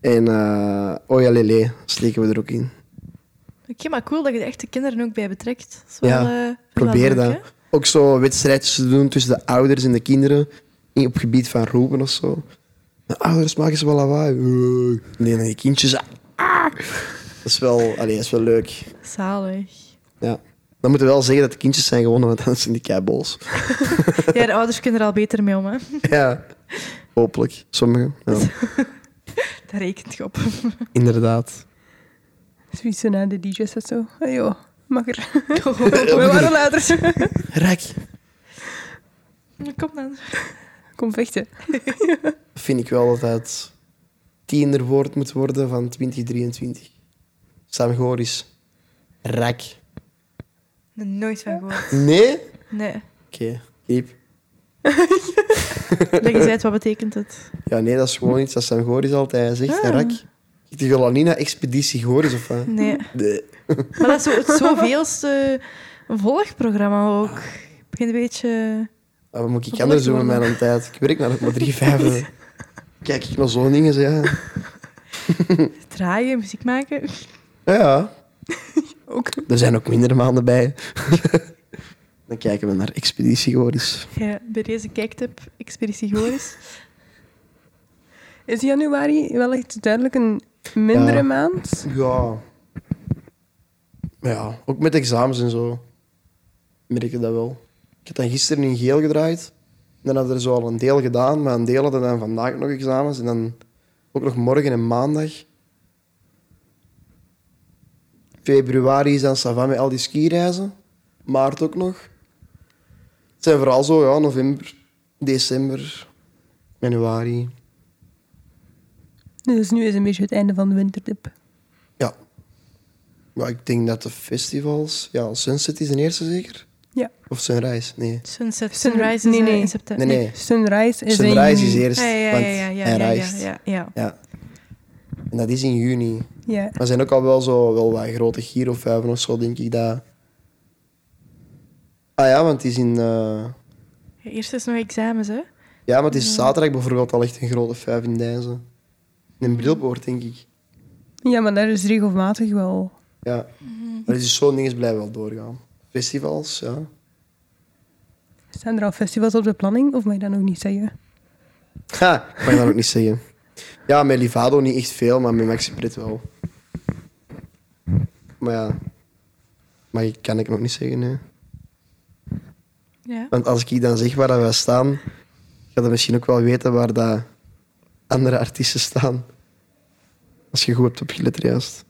Speaker 2: En eh Oja Lele steken we er ook in.
Speaker 1: Oké, maar cool dat je er echt de kinderen ook bij betrekt. Dat is wel,
Speaker 2: Ja,
Speaker 1: eh, wel
Speaker 2: Probeer
Speaker 1: leuk,
Speaker 2: dat.
Speaker 1: hè?
Speaker 2: Ook zo wedstrijdjes te doen tussen de ouders en de kinderen. in- Op gebied van roepen of zo. De ouders maken ze wel lawaai. Nee, nee, die kindjes. ah. Dat is wel, allee, dat is wel leuk.
Speaker 1: Zalig.
Speaker 2: Ja. Dan moeten we wel zeggen dat de kindjes zijn gewonnen, want anders zijn die keibols.
Speaker 1: Ja, de ouders kunnen er al beter mee om, hè?
Speaker 2: Ja. Hopelijk. Sommigen. Ja.
Speaker 1: Daar rekent je op.
Speaker 2: Inderdaad.
Speaker 3: Zoiets zo na de DJ's dat zo. Ah joh, mag er.
Speaker 1: We waren later.
Speaker 2: Rek.
Speaker 1: Kom dan.
Speaker 3: Kom vechten.
Speaker 2: Vind ik wel dat het tienerwoord moet worden van 2023. Samgorisch. Rek.
Speaker 1: Er nooit van gehoord.
Speaker 2: Nee?
Speaker 1: Nee.
Speaker 2: Oké, diep.
Speaker 1: Leg eens uit, wat betekent het?
Speaker 2: Ja, nee, dat is gewoon iets dat Sam Goris altijd zegt.
Speaker 1: Ah.
Speaker 2: Ah. Rak. De Golanina-expeditie Goris of wat?
Speaker 1: Nee.
Speaker 2: De,
Speaker 1: Maar dat is zo, het zoveelste volgprogramma ook. Ik begin een beetje...
Speaker 2: Ah, wat moet ik
Speaker 1: Wat
Speaker 2: anders doen met
Speaker 1: worden?
Speaker 2: mijn tijd? Ik werk maar nog maar drie vijfde. Kijk ik naar zo'n dingen, zo, ja.
Speaker 1: draaien, muziek maken.
Speaker 2: Ja, ja.
Speaker 3: Ook.
Speaker 2: Er zijn ook minder maanden bij. Dan kijken we naar Expeditie Goris.
Speaker 1: Ja, bij deze kijktip, Expeditie Goris.
Speaker 3: Is januari wel echt duidelijk een mindere
Speaker 2: Ja.
Speaker 3: maand?
Speaker 2: Ja. Ja, ook met examens en zo. Merk je dat wel. Ik had dan gisteren in geel gedraaid. En dan hadden we er zo al een deel gedaan. Maar een deel hadden dan vandaag nog examens. En dan ook nog morgen en maandag. Februari is dan Savan met al die skireizen. Maart ook nog. Het zijn vooral zo, ja, november, december, januari.
Speaker 3: Dus nu is een beetje het einde van de winterdip.
Speaker 2: Ja. Maar ik denk dat de festivals... Ja, Sunset is de eerste zeker?
Speaker 3: Ja.
Speaker 2: Of Sunrise? Nee.
Speaker 1: Sunset,
Speaker 3: Sun-
Speaker 1: Sunrise is
Speaker 3: nee,
Speaker 1: eh,
Speaker 3: nee.
Speaker 1: in september.
Speaker 2: Nee, nee.
Speaker 3: Sunrise is in
Speaker 2: Sunrise is
Speaker 3: juni.
Speaker 2: eerst,
Speaker 1: Ah, ja,
Speaker 2: want
Speaker 1: ja, ja, ja,
Speaker 2: hij
Speaker 1: ja, ja,
Speaker 2: reist.
Speaker 1: ja, ja.
Speaker 2: Ja. En dat is in juni.
Speaker 3: Ja.
Speaker 2: Maar er zijn ook al wel zo wel wat grote girovuiven of zo, denk ik. Dat... Ah ja, want het is in... eh,
Speaker 1: Ja, Eerst is nog examens, hè.
Speaker 2: Ja, maar het
Speaker 1: Mhm.
Speaker 2: is zaterdag bijvoorbeeld al echt een grote vijf in Dijzen. In
Speaker 1: Mhm.
Speaker 2: een brilpoort, denk ik.
Speaker 3: ja, maar daar is regelmatig wel.
Speaker 2: Ja.
Speaker 1: Mhm.
Speaker 2: Maar dus zo'n ding is blijven wel doorgaan. Festivals, ja.
Speaker 3: Staan er al festivals op de planning? Of mag je dat nog niet zeggen?
Speaker 2: Ha, mag je dat ook niet zeggen. Ja, met Livado niet echt veel, maar met Maxiprit wel. Maar ja, maar ik- kan ik nog niet zeggen, nee.
Speaker 1: Ja.
Speaker 2: Want als ik dan zeg waar dat wij staan, ga je misschien ook wel weten waar dat andere artiesten staan. Als je goed hebt opgelet, juist.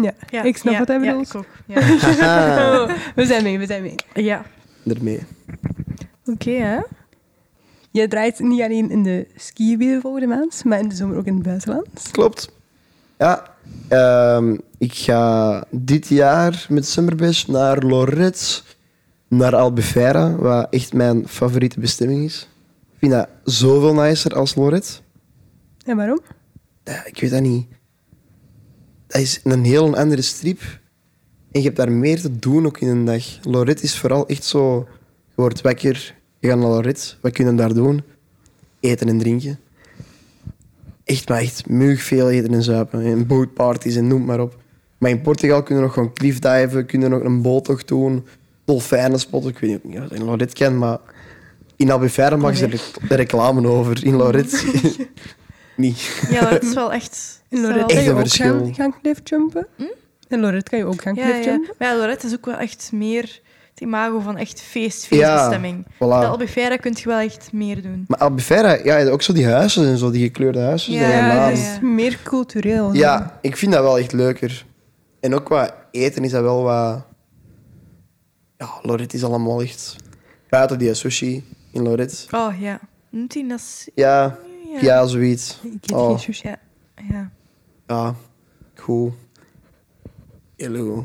Speaker 3: Ja,
Speaker 1: Ja,
Speaker 3: ik snap
Speaker 1: ja,
Speaker 3: wat hij
Speaker 1: ja,
Speaker 3: bedoelt.
Speaker 1: ik ook. Ja,
Speaker 2: Haha,
Speaker 3: we zijn mee, we zijn mee.
Speaker 1: ja.
Speaker 2: daarmee.
Speaker 1: oké, hè.
Speaker 3: Je draait niet alleen in de skigebieden volgende maand, maar in de zomer ook in het buitenland.
Speaker 2: Klopt. Ja, ehm, ik ga dit jaar met Summerbash naar Lorette, naar Albufeira, wat echt mijn favoriete bestemming is. Ik vind dat zoveel nicer als Lorette.
Speaker 3: En waarom?
Speaker 2: Ja, ik weet dat niet. Dat is een heel andere strip. En je hebt daar meer te doen ook in een dag. Lorette is vooral echt zo... Je wordt wekker, je gaat naar Lorette. Wat kunnen we daar doen? Eten en drinken. Echt, maar echt muug veel eten en zuipen. En bootparties en noem maar op. Maar in Portugal kunnen we nog gewoon cliffdiven. Kunnen we nog een boottocht doen. Dolfijnen spotten. Ik weet niet of je dat in Lorette kent, maar... In Albufeira mag ze er de reclame over. In Lorette niet.
Speaker 1: Ja, maar het is wel echt...
Speaker 3: In
Speaker 1: het is wel Hm?
Speaker 3: Lorette kan
Speaker 2: Echt
Speaker 3: je
Speaker 2: een
Speaker 3: ook
Speaker 2: verschil.
Speaker 3: gaan, gaan cliffjumpen. In Lorette kan je ook gaan
Speaker 1: Ja, ja.
Speaker 3: cliffjumpen.
Speaker 1: Maar ja, Lorette is ook wel echt meer het imago van echt feest, feestbestemming.
Speaker 2: voilà.
Speaker 1: De Albufeira kun je wel echt meer doen.
Speaker 2: Maar Albufeira, ja, je hebt ook zo die huizen en zo, die gekleurde huizen.
Speaker 1: Ja,
Speaker 2: daar in
Speaker 1: ja,
Speaker 2: Laan.
Speaker 3: dat
Speaker 1: ja.
Speaker 3: is meer cultureel.
Speaker 2: ja, ik vind dat wel echt leuker. En ook qua eten is dat wel wat... Ja, Lorette is allemaal echt... Buiten die sushi. in Lorette.
Speaker 1: Oh ja. Noemt hij dat? s- Oh,
Speaker 2: Ja,
Speaker 1: Ja.
Speaker 2: ja, zoiets.
Speaker 3: Ik eet
Speaker 2: Oh.
Speaker 3: geen sushi.
Speaker 1: Ja. ja.
Speaker 2: Ja, cool. Heel goed.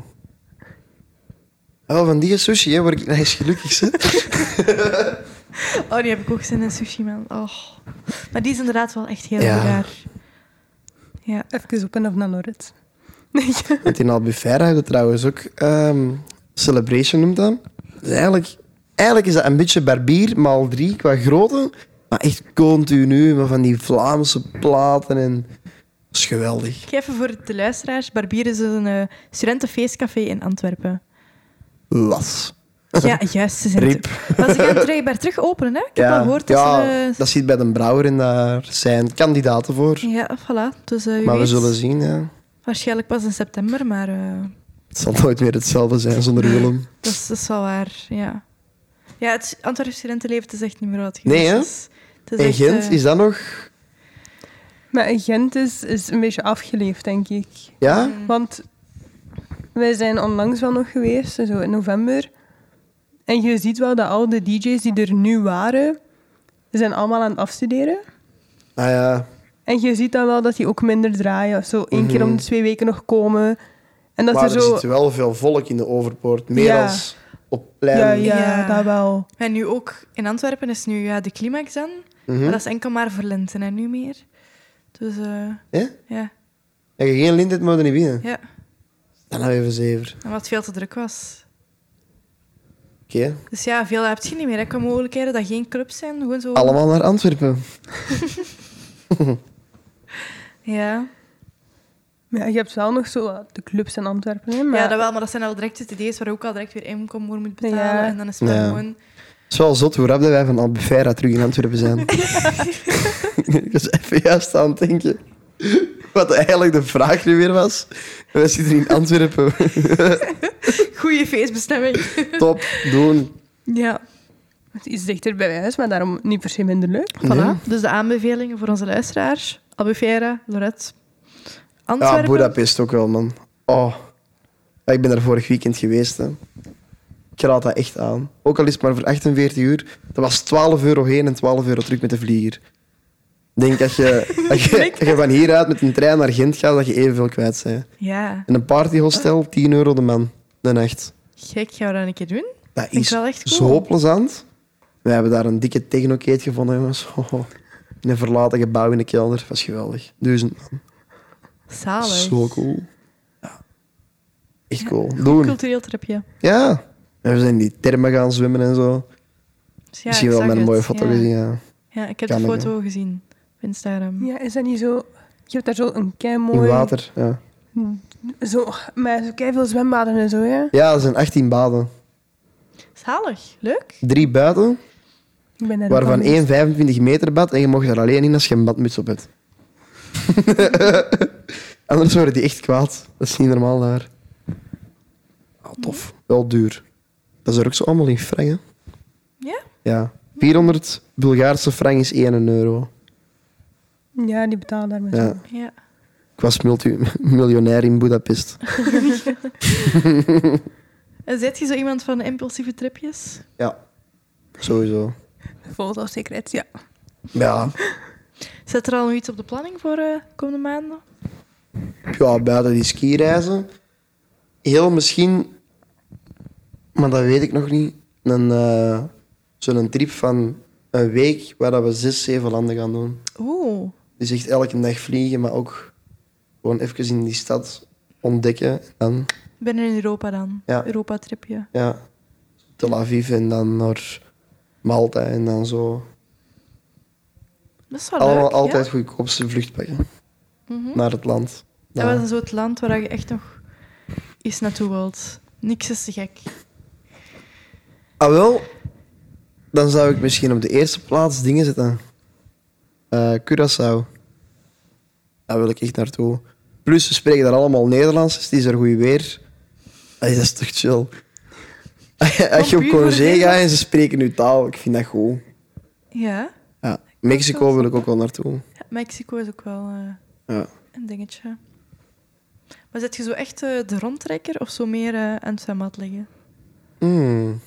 Speaker 2: Oh, van die sushi hè, word ik eens gelukkig. Hè.
Speaker 1: Oh, die heb ik ook zin in sushi, man. Oh. Maar die is inderdaad wel echt heel
Speaker 2: Ja.
Speaker 1: raar. Ja.
Speaker 3: Even op en af naar Lorette.
Speaker 2: Want in Albufeira hebben we trouwens ook ehm, Celebration noemt dat. Dus eigenlijk, eigenlijk is dat een beetje barbier, maal drie qua grootte. Maar echt continu, maar van die Vlaamse platen en... Dat is geweldig.
Speaker 1: Ik geef even voor de luisteraars. Barbier is een eh, studentenfeestcafé in Antwerpen.
Speaker 2: Las.
Speaker 1: Ja, juist. Ze zijn
Speaker 2: Riep.
Speaker 1: terug. Maar ze gaan het blijkbaar terug openen, hè? Ik heb al gehoord dat
Speaker 2: ja,
Speaker 1: ze... eh,
Speaker 2: dat zit bij de brouwer en daar zijn kandidaten voor.
Speaker 1: Ja, voilà. Dus eh, wie
Speaker 2: Maar we
Speaker 1: weet.
Speaker 2: zullen zien, ja.
Speaker 1: Waarschijnlijk pas in september, maar eh,
Speaker 2: Het zal nooit meer hetzelfde zijn zonder Willem.
Speaker 1: dat, is, dat is wel waar, ja. Ja, het Antwerpse studentenleven het is echt niet meer wat het
Speaker 2: Nee,
Speaker 1: geweest
Speaker 2: hè?
Speaker 1: is. Het is
Speaker 2: En
Speaker 1: echt,
Speaker 2: Gent,
Speaker 1: eh,
Speaker 2: is dat nog...
Speaker 3: Maar Gent is, is een beetje afgeleefd, denk ik.
Speaker 2: Ja?
Speaker 3: Want wij zijn onlangs wel nog geweest, zo in november. En je ziet wel dat al de DJ's die er nu waren, zijn allemaal aan het afstuderen.
Speaker 2: Ah ja.
Speaker 3: En je ziet dan wel dat die ook minder draaien. of Zo één keer om de twee weken nog komen. En dat
Speaker 2: maar
Speaker 3: ze
Speaker 2: er
Speaker 3: zo.
Speaker 2: zit wel veel volk in de Overpoort. Meer
Speaker 3: Ja.
Speaker 2: dan op plein.
Speaker 3: Ja, ja,
Speaker 1: Ja.
Speaker 3: dat wel.
Speaker 1: En nu ook in Antwerpen is nu ja, de climax aan.
Speaker 2: Mhm.
Speaker 1: Maar dat is enkel maar voor Linten en nu meer. Dus eh,
Speaker 2: Ja?
Speaker 1: ja,
Speaker 2: Heb je geen lint, maar niet binnen.
Speaker 1: ja.
Speaker 2: Dan nou even zeven.
Speaker 1: En wat veel te druk was.
Speaker 2: Oké,
Speaker 1: Dus ja, veel heb je niet meer. hè, qua mogelijkheden dat geen clubs zijn. Gewoon zo.
Speaker 2: allemaal naar Antwerpen.
Speaker 1: Ja.
Speaker 3: Ja, je hebt wel nog zo wat de clubs in Antwerpen. Hè, maar
Speaker 1: ja, dat wel. Maar dat zijn al direct CD's waar je ook al direct weer inkomen voor moet betalen.
Speaker 3: Ja.
Speaker 1: En dan is het wel
Speaker 2: Ja.
Speaker 1: gewoon...
Speaker 2: Het is wel zot hoe rap dat wij van Albufeira terug in Antwerpen zijn. Ik was even juist aan het denken. Wat eigenlijk de vraag nu weer was. We zitten in Antwerpen.
Speaker 1: Goeie feestbestemming.
Speaker 2: Top, doen.
Speaker 1: ja.
Speaker 3: Het is dichter bij huis, maar daarom niet per se minder leuk.
Speaker 1: Voilà. Dus de aanbevelingen voor onze luisteraars. Albufeira, Lorette,
Speaker 2: Ja,
Speaker 1: Antwerpen.
Speaker 2: Budapest ook wel, man. Oh. Ja, Ik ben daar vorig weekend geweest. Hè. Ik raad dat echt aan. Ook al is het maar voor 48 uur. Dat was 12 euro heen en 12 euro terug met de vlieger. Ik denk dat je, dat je, dat je van hieruit met een trein naar Gent gaat, dat je evenveel kwijt bent.
Speaker 1: ja.
Speaker 2: In een partyhostel, 10 euro de man. De nacht.
Speaker 1: Gek, gaan we dat een keer doen?
Speaker 2: Dat
Speaker 1: Vind
Speaker 2: is
Speaker 1: ik wel echt cool.
Speaker 2: zo plezant. We hebben daar een dikke technocate gevonden, jongens. Oh, oh. in een verlaten gebouw in de kelder. Dat was geweldig. Dus Duizend man.
Speaker 1: Zalig.
Speaker 2: Zo cool. Ja. Echt
Speaker 1: Ja,
Speaker 2: cool. Doen.
Speaker 1: Cultureel tripje.
Speaker 2: Ja. En we zijn in die termen gaan zwemmen en zo.
Speaker 1: Dus ja,
Speaker 2: Misschien
Speaker 1: ik
Speaker 2: wel
Speaker 1: zag
Speaker 2: met een
Speaker 1: het,
Speaker 2: mooie foto
Speaker 1: ja.
Speaker 2: gezien, ja.
Speaker 1: Ja, ik heb
Speaker 2: Kan
Speaker 1: de
Speaker 2: ik, hè.
Speaker 1: foto gezien op Instagram.
Speaker 3: Ja, is dat niet zo? Je hebt daar zo een kei
Speaker 2: In
Speaker 3: mooi.
Speaker 2: water, ja.
Speaker 3: Zo, maar zo kei veel zwembaden en zo, hè?
Speaker 2: Ja, er zijn 18 baden.
Speaker 1: Zalig, leuk.
Speaker 2: Drie buiten,
Speaker 3: Ik ben daar ook
Speaker 2: waarvan
Speaker 3: al geweest.
Speaker 2: één 25 meter bad. En je mocht er alleen in als je een badmuts op hebt. Anders worden die echt kwaad. Dat is niet normaal daar. Ah, tof. Wel duur. Dat is er ook zo allemaal in frank, hè?
Speaker 1: Ja?
Speaker 2: Ja. 400 Bulgaarse frank is 1 euro.
Speaker 3: Ja, die betalen daar met
Speaker 2: Ja.
Speaker 3: zo.
Speaker 1: Ja.
Speaker 2: Ik was multi- miljonair in Budapest.
Speaker 1: En zet je zo iemand van de impulsieve tripjes?
Speaker 2: Ja. Sowieso.
Speaker 3: Bijvoorbeeld als secret, ja.
Speaker 2: Ja.
Speaker 1: Zet er al nog iets op de planning voor eh, komende maanden?
Speaker 2: Ja, buiten die skireizen. Heel misschien, maar dat weet ik nog niet, een, eh, zo'n trip van een week waar dat we zes, zeven landen gaan doen.
Speaker 1: Oeh.
Speaker 2: Dus echt elke dag vliegen, maar ook gewoon even in die stad ontdekken. En,
Speaker 1: Binnen in Europa dan.
Speaker 2: Ja.
Speaker 1: Europa-tripje.
Speaker 2: ja, Tel Aviv en dan naar Malta en dan zo.
Speaker 1: Dat is wel
Speaker 2: Allemaal
Speaker 1: leuk.
Speaker 2: altijd
Speaker 1: Ja?
Speaker 2: goedkoopste vlucht pakken
Speaker 1: Mhm.
Speaker 2: naar het land.
Speaker 1: Dat
Speaker 2: Ja.
Speaker 1: was dan zo het land waar je echt nog eens naartoe wilt. Niks is te gek.
Speaker 2: Ah, wel. Dan zou ik misschien op de eerste plaats dingen zetten. Eh Curaçao. Daar wil ik echt naartoe. Plus, ze spreken daar allemaal Nederlands, dus het is er goed weer. Ay, dat is toch chill. Als je op
Speaker 1: puur voor de
Speaker 2: congé gaat en
Speaker 1: Nederlands.
Speaker 2: ze spreken je taal, ik vind dat goed.
Speaker 1: Ja.
Speaker 2: Ja. Mexico wil ik ook wel naartoe.
Speaker 1: Ja, Mexico is ook wel eh,
Speaker 2: Ja.
Speaker 1: een dingetje. Maar zet je zo echt eh, de rondtrekker of zo meer eh, aan het zwembad liggen?
Speaker 2: Hmm.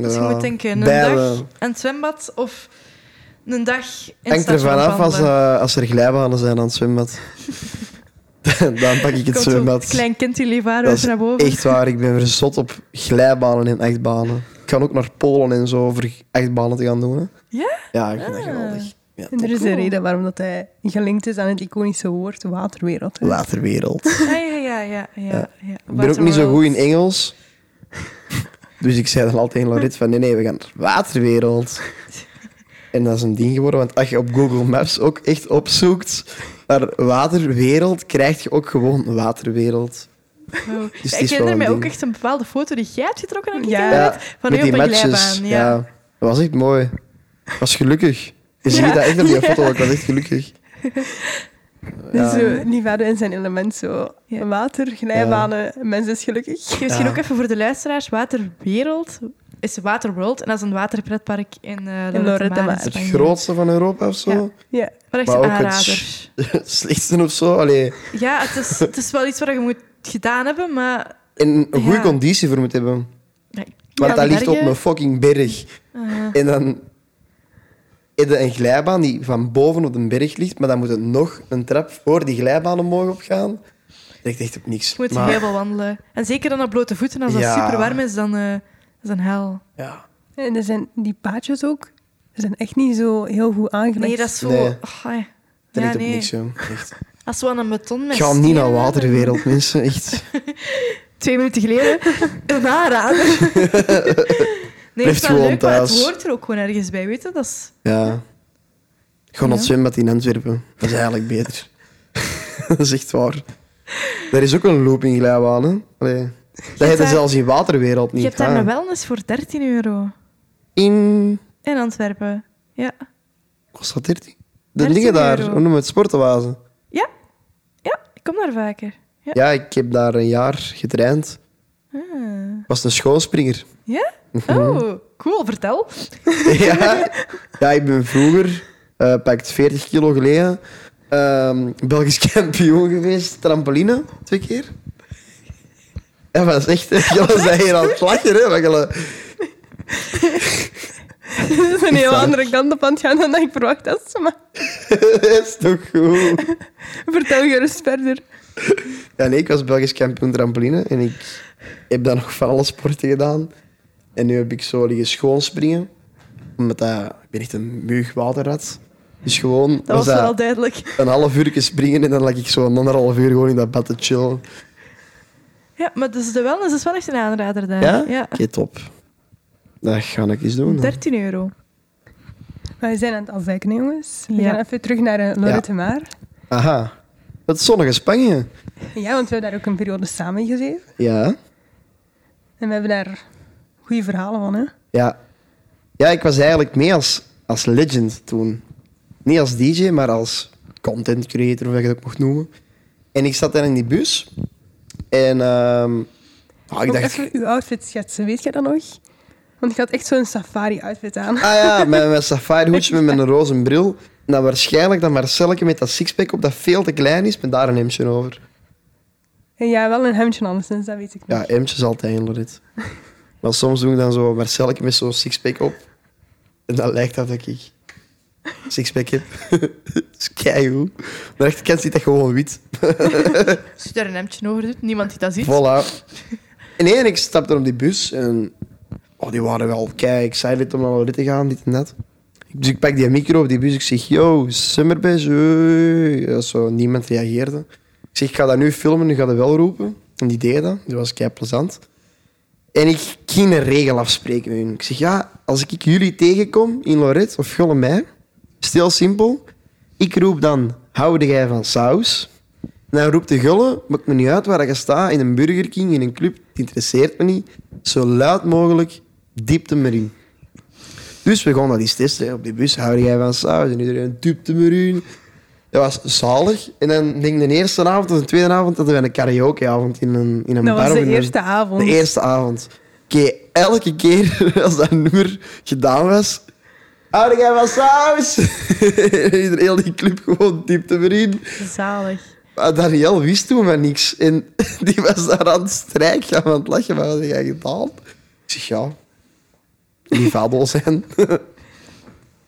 Speaker 1: Dus je moet denken, een
Speaker 2: Bijlen.
Speaker 1: dag aan het zwembad of een dag in het
Speaker 2: Hangt er
Speaker 1: station
Speaker 2: vanaf als,
Speaker 1: wandelen.
Speaker 2: eh, als er glijbanen zijn aan het zwembad. dan pak ik het
Speaker 1: Komt zo'n
Speaker 2: zwembad.
Speaker 1: klein kind die levaar
Speaker 2: Dat
Speaker 1: uit
Speaker 2: is
Speaker 1: naar boven.
Speaker 2: Echt waar, ik ben verzot op glijbanen en achtbanen. Ik kan ook naar Polen en zo voor achtbanen te gaan doen. Hè.
Speaker 1: Ja?
Speaker 2: Ja, ik vind dat
Speaker 1: Ah.
Speaker 2: geweldig. Ja,
Speaker 3: En er is
Speaker 1: Cool.
Speaker 3: een reden waarom dat hij gelinkt is aan het iconische woord waterwereld. hè.
Speaker 2: Waterwereld.
Speaker 1: Ah, ja, ja, ja. ja, ja.
Speaker 2: Ik ben ook niet zo goed in Engels. Dus ik zei dan altijd tegen Laurit van nee, nee, we gaan naar Waterwereld. En dat is een ding geworden, want als je op Google Maps ook echt opzoekt naar Waterwereld, krijg je ook gewoon Waterwereld.
Speaker 1: Wow.
Speaker 2: Dus het
Speaker 1: Ja, ik
Speaker 2: is wel
Speaker 1: herinner
Speaker 2: een
Speaker 1: mij ook
Speaker 2: ding.
Speaker 1: echt een bepaalde foto die jij hebt getrokken aan
Speaker 3: Ja.
Speaker 1: ja. Van u op een glijbaan. Ja.
Speaker 2: dat was echt mooi. Ik was gelukkig. Je ziet
Speaker 3: Ja.
Speaker 2: dat echt op die
Speaker 3: Ja.
Speaker 2: foto, ik was echt gelukkig.
Speaker 3: Dus
Speaker 2: Ja.
Speaker 3: zo, niet verder in zijn element. Zo.
Speaker 1: Ja.
Speaker 3: Water, glijbanen, mens is gelukkig.
Speaker 1: Ik geef Misschien
Speaker 2: Ja.
Speaker 1: ook even voor de luisteraars. Waterwereld is Waterworld. En dat is een waterpretpark in eh
Speaker 3: Lorette
Speaker 1: Lorette
Speaker 3: Mar.
Speaker 2: Het grootste van Europa of zo.
Speaker 3: Ja.
Speaker 1: Maar echt
Speaker 2: maar
Speaker 1: een
Speaker 2: ook het
Speaker 1: aanrader.
Speaker 2: Het slechtste of zo. Allee,
Speaker 1: Ja, het is, het is wel iets waar je moet gedaan hebben, maar...
Speaker 2: en een goede
Speaker 1: Ja.
Speaker 2: conditie voor moet hebben.
Speaker 1: Ja,
Speaker 2: Want
Speaker 1: ja,
Speaker 2: dat
Speaker 1: de
Speaker 2: ligt op
Speaker 1: bergen,
Speaker 2: een fucking berg.
Speaker 1: eh,
Speaker 2: En dan heb je een glijbaan die van boven op een berg ligt, maar dan moet er nog een trap voor die glijbaan omhoog opgaan. Dat lijkt echt op niks.
Speaker 1: je moet
Speaker 2: Maar-
Speaker 1: heel veel wandelen. En zeker dan op blote voeten. Als dat
Speaker 2: Ja.
Speaker 1: super warm is, dan eh, is dat een hel.
Speaker 2: ja.
Speaker 3: En er zijn die paadjes ook, ze zijn echt niet zo heel goed aangelegd.
Speaker 1: Nee, dat is zo...
Speaker 2: Nee.
Speaker 1: Oh, ja.
Speaker 2: Dat
Speaker 1: Ja,
Speaker 2: lijkt op
Speaker 1: nee.
Speaker 2: niks, joh. Echt.
Speaker 1: Als we aan een beton met
Speaker 2: Ga niet naar
Speaker 1: stenen-
Speaker 2: waterwereld, mensen. Echt.
Speaker 1: Twee minuten geleden. Een aanrader. Nee,
Speaker 2: Blijf
Speaker 1: het is wel
Speaker 2: gewoon
Speaker 1: leuk, maar het
Speaker 2: thuis.
Speaker 1: hoort er ook gewoon ergens bij, weet je? Dat is...
Speaker 2: Ja. Gewoon
Speaker 1: Ja.
Speaker 2: het zwembad in Antwerpen. Dat is eigenlijk beter. dat is echt waar. Er is ook een loop in glijbaan, hè? Allee. Dat heet
Speaker 1: daar-
Speaker 2: er zelfs in waterwereld niet.
Speaker 1: Je hebt daar
Speaker 2: hè.
Speaker 1: een wellness voor 13 euro.
Speaker 2: In...
Speaker 1: In Antwerpen. Ja.
Speaker 2: Kost dat 13? De
Speaker 1: 13
Speaker 2: dingen daar,
Speaker 1: euro.
Speaker 2: hoe noemen we het? Sportenwazen.
Speaker 1: Ja. Ja, ik kom daar vaker. Ja.
Speaker 2: Ja, ik heb daar een jaar getraind.
Speaker 1: Ah.
Speaker 2: Ik was een schoonspringer.
Speaker 1: Ja?
Speaker 2: Mhm.
Speaker 1: Oh, cool. Vertel.
Speaker 2: ja. ja, ik ben vroeger, eh pakt 40 kilo geleden, ehm, Belgisch kampioen geweest. Trampoline, twee keer. Ja, maar dat is echt... Jullie zijn hier aan het lachen, hè. maar jullie-
Speaker 3: is een heel andere kant op aan het gaan dan dat ik verwacht had. Maar
Speaker 2: Dat is toch goed?
Speaker 3: vertel gerust verder.
Speaker 2: Ja, nee, ik was Belgisch kampioen trampoline en ik heb dan nog van alle sporten gedaan. En nu heb ik zo liggen schoonspringen. Omdat dat, ik ben echt een muug waterrat. Dus gewoon...
Speaker 3: Dat was wel duidelijk.
Speaker 2: een half uur springen en dan lag ik zo een anderhalf uur gewoon in dat bad te chillen.
Speaker 1: Ja, maar dus de wellness is wel echt een aanrader daar.
Speaker 2: Ja? Oké, top. Dat ga ik eens doen. dan.
Speaker 1: 13 euro.
Speaker 3: Maar we zijn aan het afwijken, hè, jongens. We
Speaker 1: Ja.
Speaker 3: gaan even terug naar eh, Lorette Maar.
Speaker 2: Aha. Het zonnige Spanje.
Speaker 3: Ja, want we hebben daar ook een periode samen gezeten.
Speaker 2: Ja.
Speaker 3: En we hebben daar goede verhalen van, hè.
Speaker 2: Ja. Ja, ik was eigenlijk mee als, als legend toen. Niet als DJ, maar als content creator, of wat je dat ook mocht noemen. En ik zat daar in die bus. En ehm, ah, ik
Speaker 3: Ook
Speaker 2: dacht...
Speaker 3: even uw outfit schetsen, weet jij dat nog? Want ik had echt zo'n safari-outfit aan.
Speaker 2: Ah ja, met mijn safari hoedje, met mijn roze bril. En dan waarschijnlijk dat Marcelke met dat sixpack op dat veel te klein is, met daar een hemdje over.
Speaker 3: En ja, wel een hemdje anderszins, dat weet ik nog.
Speaker 2: Ja, M'tjes altijd in Lorit. Maar soms doe ik dan zo Marcelke met zo'n sixpack op. En dan lijkt dat dat ik sixpack heb. dat is keigoed. Maar de rechterkant ziet dat gewoon wit.
Speaker 1: Als je daar een hemdje over doet, niemand die dat ziet.
Speaker 2: Voilà. En één, ik stapte op die bus en... Oh, die waren wel kei excited om naar Lorit te gaan, dit en dat. Dus ik pak die micro op die bus, ik zeg, yo, Summerbase, hey." Ja, zo, niemand reageerde. Ik zeg, ik ga dat nu filmen, nu ga dat wel roepen. En die deed dat, dat was kei plezant. En ik ging een regel afspreken met hun. Ik zeg, ja, als ik jullie tegenkom in Loret of Gollemij, stil simpel, ik roep dan, houde jij van saus? En dan roept de gulle, maakt me niet uit waar je staat, in een Burger King, in een club, het interesseert me niet. Zo luid mogelijk, diepte me in. Dus we gaan dat eens testen hè, op die bus. Hou jij van saus? En iedereen diepte me in. Dat was zalig. En dan denk ik de eerste avond of de tweede avond hadden we een karaokeavond in een, in een
Speaker 3: Dat
Speaker 2: bar.
Speaker 3: was
Speaker 2: of in
Speaker 3: de
Speaker 2: een-
Speaker 3: eerste avond.
Speaker 2: de eerste avond. Oké, elke keer als dat nummer gedaan was... Hou jij van saus? Iedereen heel die club gewoon diepte me in.
Speaker 1: Zalig.
Speaker 2: Maar Daniel wist toen van niks. En die was daar aan het strijken, aan het lachen. Wat had jij gedaan? Ik zeg, ja, Livado zijn.
Speaker 3: We hebben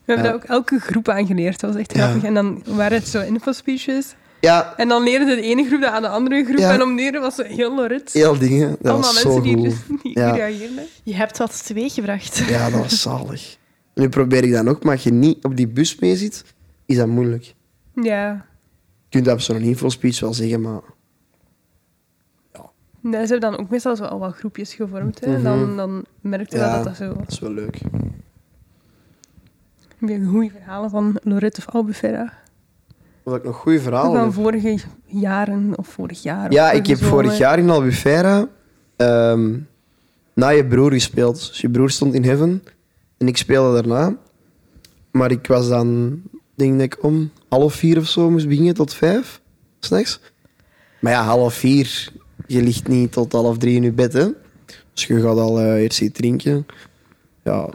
Speaker 2: Ja.
Speaker 3: daar ook elke groep aan geleerd. Dat was echt
Speaker 2: Ja.
Speaker 3: grappig. En dan waren het zo infospeeches.
Speaker 2: Ja,
Speaker 3: En dan leerde de ene groep dat aan de andere groep.
Speaker 2: Ja.
Speaker 3: En om de ene was het heel lorit.
Speaker 2: heel dingen. Dat
Speaker 3: Allemaal
Speaker 2: was zo
Speaker 3: mensen die,
Speaker 2: goed.
Speaker 3: dus, die
Speaker 2: Ja.
Speaker 3: reageerden.
Speaker 1: Je hebt wat teweeg gebracht.
Speaker 2: Ja, dat was zalig. Nu probeer ik dan ook, maar als je niet op die bus mee zit, is dat moeilijk.
Speaker 3: Ja.
Speaker 2: Je kunt dat op zo'n infospeech wel zeggen, maar...
Speaker 3: Nee, ze hebben dan ook meestal zo al wat groepjes gevormd. Hè. En dan, dan merkte je
Speaker 2: Mhm. Ja.
Speaker 3: dat dat zo...
Speaker 2: Dat is wel leuk.
Speaker 3: Weer goede verhalen van Lorette of Albufera.
Speaker 2: Wat ik nog goede verhalen
Speaker 3: Van
Speaker 2: heb.
Speaker 3: vorige jaren of vorig jaar.
Speaker 2: eh,
Speaker 3: of eh,
Speaker 2: Ja,
Speaker 3: vorige
Speaker 2: ik heb
Speaker 3: zomer.
Speaker 2: vorig jaar in Albufeira ehm, na je broer gespeeld. Dus je broer stond in Heaven en ik speelde daarna. Maar ik was dan, denk ik, om half vier of zo moest beginnen tot vijf, s'nachts. Maar ja, half vier, je ligt niet tot half drie in je bed, hè. Dus je gaat al eh, eerst iets drinken. Ja,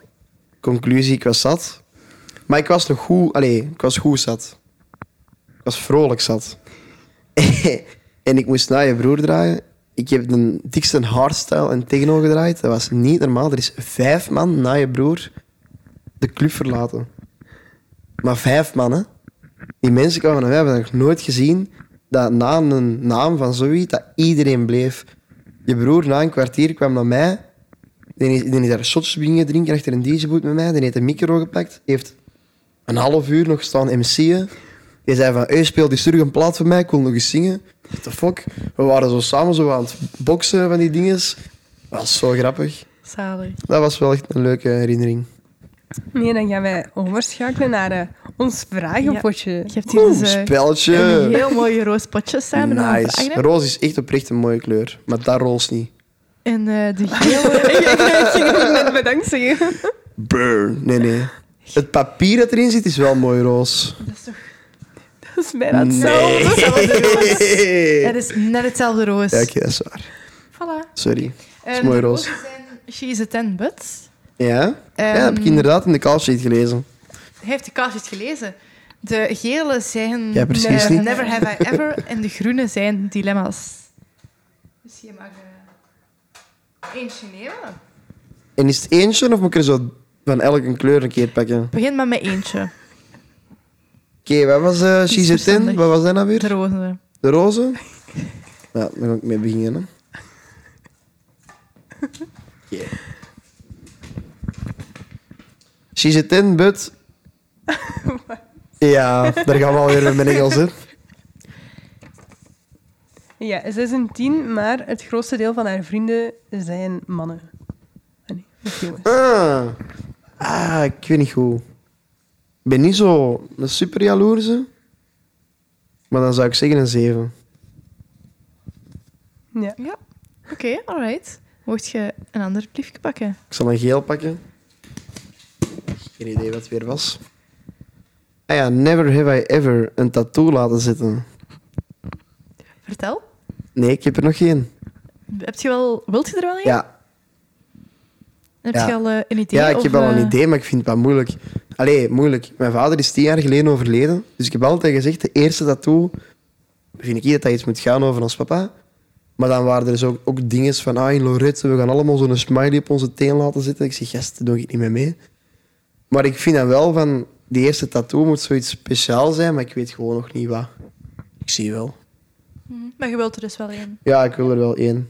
Speaker 2: conclusie, ik was zat. Maar ik was nog goed, allee, ik was goed zat. Ik was vrolijk zat. en ik moest naar je broer draaien. Ik heb de dikste hardstyle en techno gedraaid. Dat was niet normaal. Er is vijf man na je broer de club verlaten. Maar vijf mannen. Die mensen kwamen naar mij. We hebben dat nog nooit gezien. Dat na een naam van zoiets, dat iedereen bleef. Je broer na een kwartier kwam naar mij. Die is, die is daar shots beginnen drinken achter een dj-boot met mij. Die heeft een micro gepakt. Die heeft een half uur nog staan MC'en. Die zei van, hey, speel die terug een plaat voor mij, ik wil nog eens zingen. What the fuck? We waren zo samen zo aan het boksen van die dinges. Dat was zo grappig.
Speaker 1: Zalig.
Speaker 2: Dat was wel echt een leuke herinnering.
Speaker 3: Nee, dan gaan wij overschakelen naar eh, ons vragenpotje.
Speaker 1: Je hebt hier dus
Speaker 2: Oeh,
Speaker 1: eh,
Speaker 2: speltje.
Speaker 1: een heel mooie roos potjes samen. aan het
Speaker 2: Nice.
Speaker 1: hangen.
Speaker 2: Roze is echt oprecht een mooie kleur, maar dat roze niet.
Speaker 1: En eh, de gele...
Speaker 3: ik ging ook net bedankt zeggen.
Speaker 2: Burn. Nee, nee. Het papier dat erin zit is wel mooi roze.
Speaker 1: Dat is toch...
Speaker 3: Dat is bijna hetzelfde.
Speaker 1: Nee. hetzelfde
Speaker 2: Nee.
Speaker 1: Dat is net hetzelfde roos.
Speaker 2: Ja, oké, dat is waar.
Speaker 1: Voilà. Eh,
Speaker 2: Sorry.
Speaker 1: Dat
Speaker 2: is mooi roos.
Speaker 1: She is a ten but...
Speaker 2: Ja? ja, dat heb ik
Speaker 1: Ehm,
Speaker 2: inderdaad in de call sheet gelezen.
Speaker 1: Hij heeft de kaartjes gelezen. De gele zijn
Speaker 2: Ja, precies
Speaker 1: eh,
Speaker 2: niet.
Speaker 1: Never Have I Ever en de groene zijn dilemma's. Dus je mag eh, eentje nemen.
Speaker 2: En is het eentje of moet ik er zo van elk een kleur een keer pakken?
Speaker 1: Begin maar met eentje.
Speaker 2: Oké, wat was eh She's a Ten?
Speaker 1: verstandig.
Speaker 2: Wat was dat nou
Speaker 1: De
Speaker 2: weer?
Speaker 1: roze.
Speaker 2: De roze? Ja, daar ga ik mee beginnen. hè. She's a ten, but... Ja, daar gaan we alweer met mijn Engels, hè.
Speaker 3: Ja, ze is een tien, maar het grootste deel van haar vrienden zijn mannen. Ah, nee, of jongens.
Speaker 2: Ah. ah, ik weet niet hoe. Ik ben niet zo een super jaloerse. Maar dan zou ik zeggen een 7.
Speaker 3: Ja.
Speaker 1: Ja. Oké, alright. Mocht je een ander briefje pakken?
Speaker 2: Ik zal een geel pakken. Geen idee wat het weer was. Ah ja, never have I ever een tattoo laten zitten.
Speaker 1: Vertel.
Speaker 2: Nee, ik heb er nog geen.
Speaker 1: Heb je wel, wilt je er wel een?
Speaker 2: Ja,
Speaker 1: Heb
Speaker 2: Ja.
Speaker 1: je al eh, een idee?
Speaker 2: ja ik heb
Speaker 1: of,
Speaker 2: wel
Speaker 1: eh,
Speaker 2: een idee, maar ik vind het wel moeilijk. Allee, moeilijk. Mijn vader is tien jaar geleden overleden. Dus ik heb altijd gezegd, de eerste tattoo... Vind ik hier dat dat iets moet gaan over ons papa. Maar dan waren er dus ook, ook dingen van... Ah, in Lorette, we gaan allemaal zo'n smiley op onze teen laten zitten. Ik zeg, gast, daar doe ik niet meer mee. Maar ik vind dan wel van... Die eerste tattoo moet zoiets speciaal zijn, maar ik weet gewoon nog niet wat. Ik zie wel.
Speaker 1: hm, Maar je wilt er dus wel een.
Speaker 2: Ja, ik wil er wel één.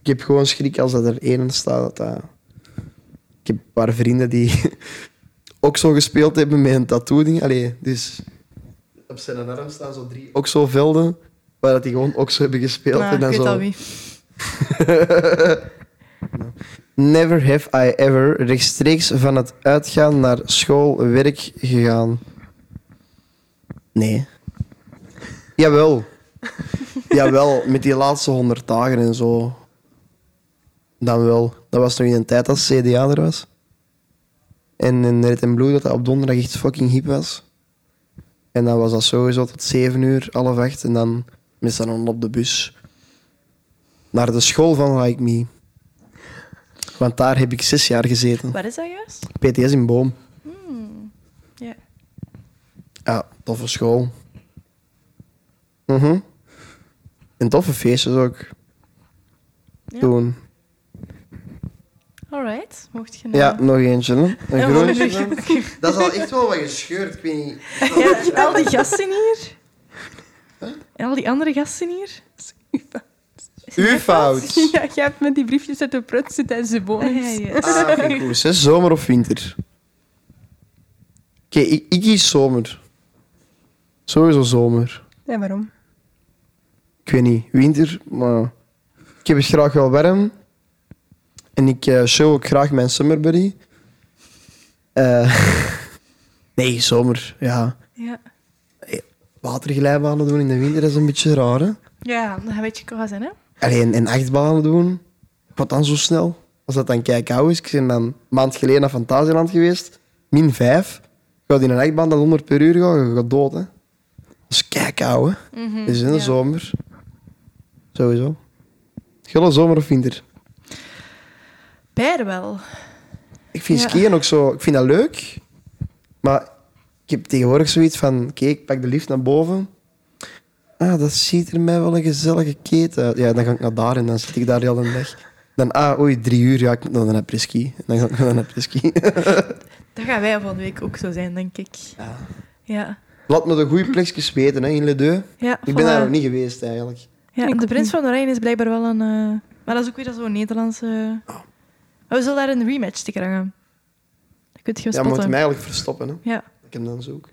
Speaker 2: Ik heb gewoon schrik als dat er één staat. Dat dat- Ik heb een paar vrienden die ook zo gespeeld hebben met een tattoo-ding. Allee, dus op zijn arm staan zo drie okso-velden, waar dat die gewoon okso hebben gespeeld.
Speaker 1: Nou,
Speaker 2: en dan
Speaker 1: ik weet
Speaker 2: zo...
Speaker 1: al wie.
Speaker 2: Never have I ever rechtstreeks van het uitgaan naar school, werk gegaan. Nee. Jawel. Jawel, met die laatste honderd dagen en zo. Dan wel. Dat was nog in een tijd dat CDA er was. En in Red en Blue, dat dat op donderdag echt fucking hip was. En dan was dat sowieso tot zeven uur, half acht. En dan mis dan op de bus. Naar de school van Like Me. Want daar heb ik zes jaar gezeten.
Speaker 1: Waar is dat juist?
Speaker 2: PTS in Boom.
Speaker 1: Hmm, Ja.
Speaker 2: Ja, toffe school. Mhm. En toffe feestjes ook.
Speaker 1: Ja.
Speaker 2: Toen.
Speaker 1: All Alright. Mocht je... eh,
Speaker 2: Ja, nog eentje. Hè. Een
Speaker 1: groen.
Speaker 2: groentje dan. Dat is al echt wel wat gescheurd. Ik weet niet.
Speaker 1: al die gasten hier. En al die andere gasten hier.
Speaker 2: Uw fout.
Speaker 3: Ja, jij hebt met die briefjes uit de prut zitten en ze bonus.
Speaker 1: Ah, ja, ja.
Speaker 2: Ah, vind ik goed, hè. Zomer of winter? Oké, ik, ik kies zomer. Sowieso zomer.
Speaker 3: Ja, waarom?
Speaker 2: Ik weet niet, winter, maar... Ik heb het graag wel warm. En ik eh, show ook graag mijn summer buddy. Eh, nee, zomer, ja.
Speaker 1: Ja.
Speaker 2: Waterglijbanen doen in de winter dat is een beetje raar, hè?
Speaker 1: ja, dan weet je qua zijn, hè?
Speaker 2: Alleen in achtbanen doen. Wat dan zo snel? Als dat dan kijkhoud is. Ik ben dan een maand geleden naar Fantasieland geweest. Min 5. Gaat in een achtbaan dan 100 per uur gaan. Je gaat dood, hè. Dat is kijkhoud, hè.
Speaker 1: Mhm,
Speaker 2: Dus in de
Speaker 1: ja.
Speaker 2: zomer. Sowieso. Gulle zomer of winter?
Speaker 1: Beide wel.
Speaker 2: Ik vind
Speaker 1: Ja.
Speaker 2: skiën ook zo... Ik vind dat leuk. Maar ik heb tegenwoordig zoiets van... Oké, ik pak de lift naar boven. Ah, dat ziet er mij wel een gezellige keten uit. Ja, dan ga ik naar daar en dan zit ik daar heel de dag. Dan, ah, oei, drie uur. Ja, ik moet nog naar een ski En dan ga ik nog naar een ski
Speaker 1: Dat gaan wij van de week ook zo zijn, denk ik.
Speaker 2: Ja.
Speaker 1: Ja.
Speaker 2: Laat me de goede plekjes weten, hè, in Le Deux.
Speaker 1: ja
Speaker 2: Ik ben daar
Speaker 1: voilà.
Speaker 2: nog niet geweest, eigenlijk.
Speaker 1: Ja,
Speaker 3: Ik
Speaker 1: de
Speaker 3: ook
Speaker 1: Prins
Speaker 3: niet.
Speaker 1: van Oranje is blijkbaar wel een... eh, Maar dat is ook weer zo'n Nederlandse...
Speaker 2: Oh.
Speaker 1: Maar We zullen daar een rematch tegen hangen. Dat kun je
Speaker 2: Ja, maar moet hem
Speaker 1: spotten.
Speaker 2: eigenlijk verstoppen, hè.
Speaker 1: Ja.
Speaker 2: Ik hem dan zoek.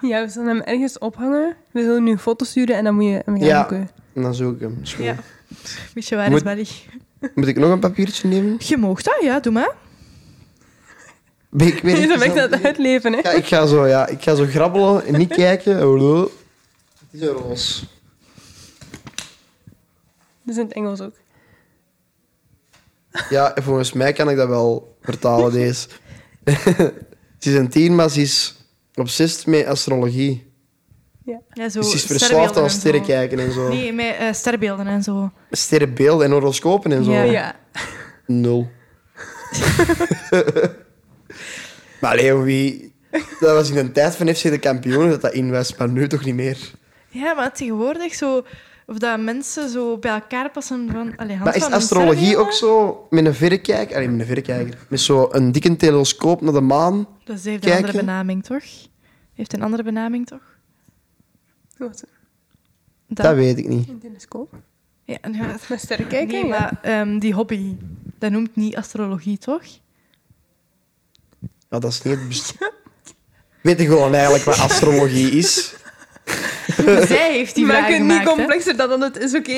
Speaker 3: Ja, we zullen hem ergens ophangen. We zullen nu foto's sturen en dan moet je hem gaan
Speaker 2: Ja.
Speaker 3: zoeken.
Speaker 2: En dan zoek ik hem. Is goed.
Speaker 1: Ja. Weet je waar
Speaker 2: Moet-
Speaker 1: is België?
Speaker 2: Moet ik nog een papiertje nemen?
Speaker 1: Je mag dat, ja, doe maar.
Speaker 2: Ben ik weer
Speaker 3: Je bent echt
Speaker 2: interessant?
Speaker 3: aan het uitleven, hè?
Speaker 2: Ja, ik ga zo, ja, ik ga zo grabbelen en niet kijken. Oh, Hallo. Het is een roos.
Speaker 3: Dat is in het Engels ook.
Speaker 2: Ja, en volgens mij kan ik dat wel vertalen, deze. ze is een tien, maar ze is obsessief met astrologie.
Speaker 1: Ja, zo
Speaker 2: Dus ze is verslaafd
Speaker 1: sterrenbeelden
Speaker 2: aan
Speaker 1: en
Speaker 2: sterren
Speaker 1: zo.
Speaker 2: kijken en zo.
Speaker 1: Nee, met eh, sterrenbeelden en zo.
Speaker 2: Sterrenbeelden en horoscopen en zo.
Speaker 1: Ja.
Speaker 3: Ja.
Speaker 2: Nul. maar Leo, wie... Dat was in de tijd van FC de kampioenen dat dat in was, maar nu toch niet meer.
Speaker 1: Ja, maar tegenwoordig zo... Of dat mensen zo bij elkaar passen van... Allee, Hans
Speaker 2: Maar is
Speaker 1: van een
Speaker 2: astrologie
Speaker 1: sterrenbeelden?
Speaker 2: ook zo met een verrekijker? Allee, met een verrekijker. Met zo'n dikke telescoop naar de maan.
Speaker 1: Dat heeft een
Speaker 2: Kijken.
Speaker 1: andere benaming, toch? Heeft een andere benaming, toch?
Speaker 3: Wat?
Speaker 2: Dat, weet ik niet.
Speaker 3: Een telescoop?
Speaker 1: Ja, en ja,
Speaker 3: Met sterren kijken?
Speaker 1: nee, maar ehm, die hobby, dat noemt niet astrologie, toch?
Speaker 2: Ja, dat is niet het best- Weet je gewoon eigenlijk wat astrologie is?
Speaker 1: Zij heeft die
Speaker 3: Die
Speaker 1: vraag
Speaker 3: maken het niet
Speaker 1: gemaakt, hè?
Speaker 3: complexer dan dat het is, oké?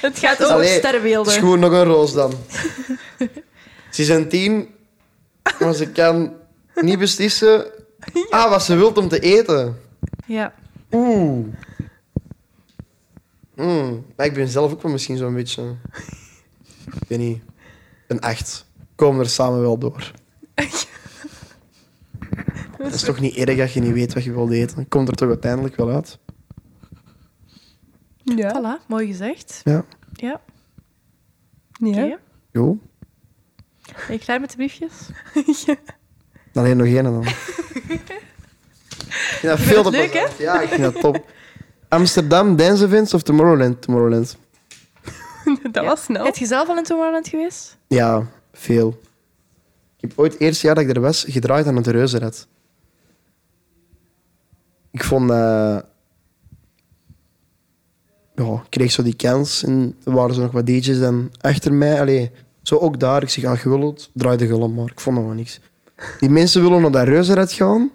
Speaker 3: het gaat
Speaker 1: Over
Speaker 3: over...
Speaker 2: Allee,
Speaker 1: sterrenbeelden.
Speaker 2: Het is gewoon nog een roos dan. Ze is een tien, maar ze kan niet beslissen ah, wat ze wilt om te eten.
Speaker 1: Ja.
Speaker 2: Oeh. Mm, maar ik ben zelf ook wel misschien zo'n beetje... Ik weet niet. Een acht. Komen we er samen wel door. Dat is toch niet erg dat je niet weet wat je wilt eten. Komt er toch uiteindelijk wel uit.
Speaker 3: Ja.
Speaker 1: Voilà, mooi gezegd.
Speaker 2: Ja.
Speaker 1: Ja, oké.
Speaker 3: ja.
Speaker 2: Jo.
Speaker 1: Ben je klaar met de briefjes?
Speaker 2: Alleen nog één dan. ik vind dat veel te
Speaker 1: leuk,
Speaker 2: plezant. Ja, ik vind dat top. Amsterdam, Dance Events of Tomorrowland? Tomorrowland.
Speaker 3: dat was snel.
Speaker 1: Heb je zelf al in Tomorrowland geweest?
Speaker 2: Ja, veel. Ik heb ooit het eerste jaar dat ik er was gedraaid aan het Reuzenrad. Ik vond... eh, Ja, ik kreeg zo die kans en er waren zo nog wat DJ's dan achter mij. Allee, zo ook daar. Ik zeg, ah, je wil het, draai de gullen maar. Ik vond dat wel niks. Die mensen willen naar dat Reuzenrad gaan.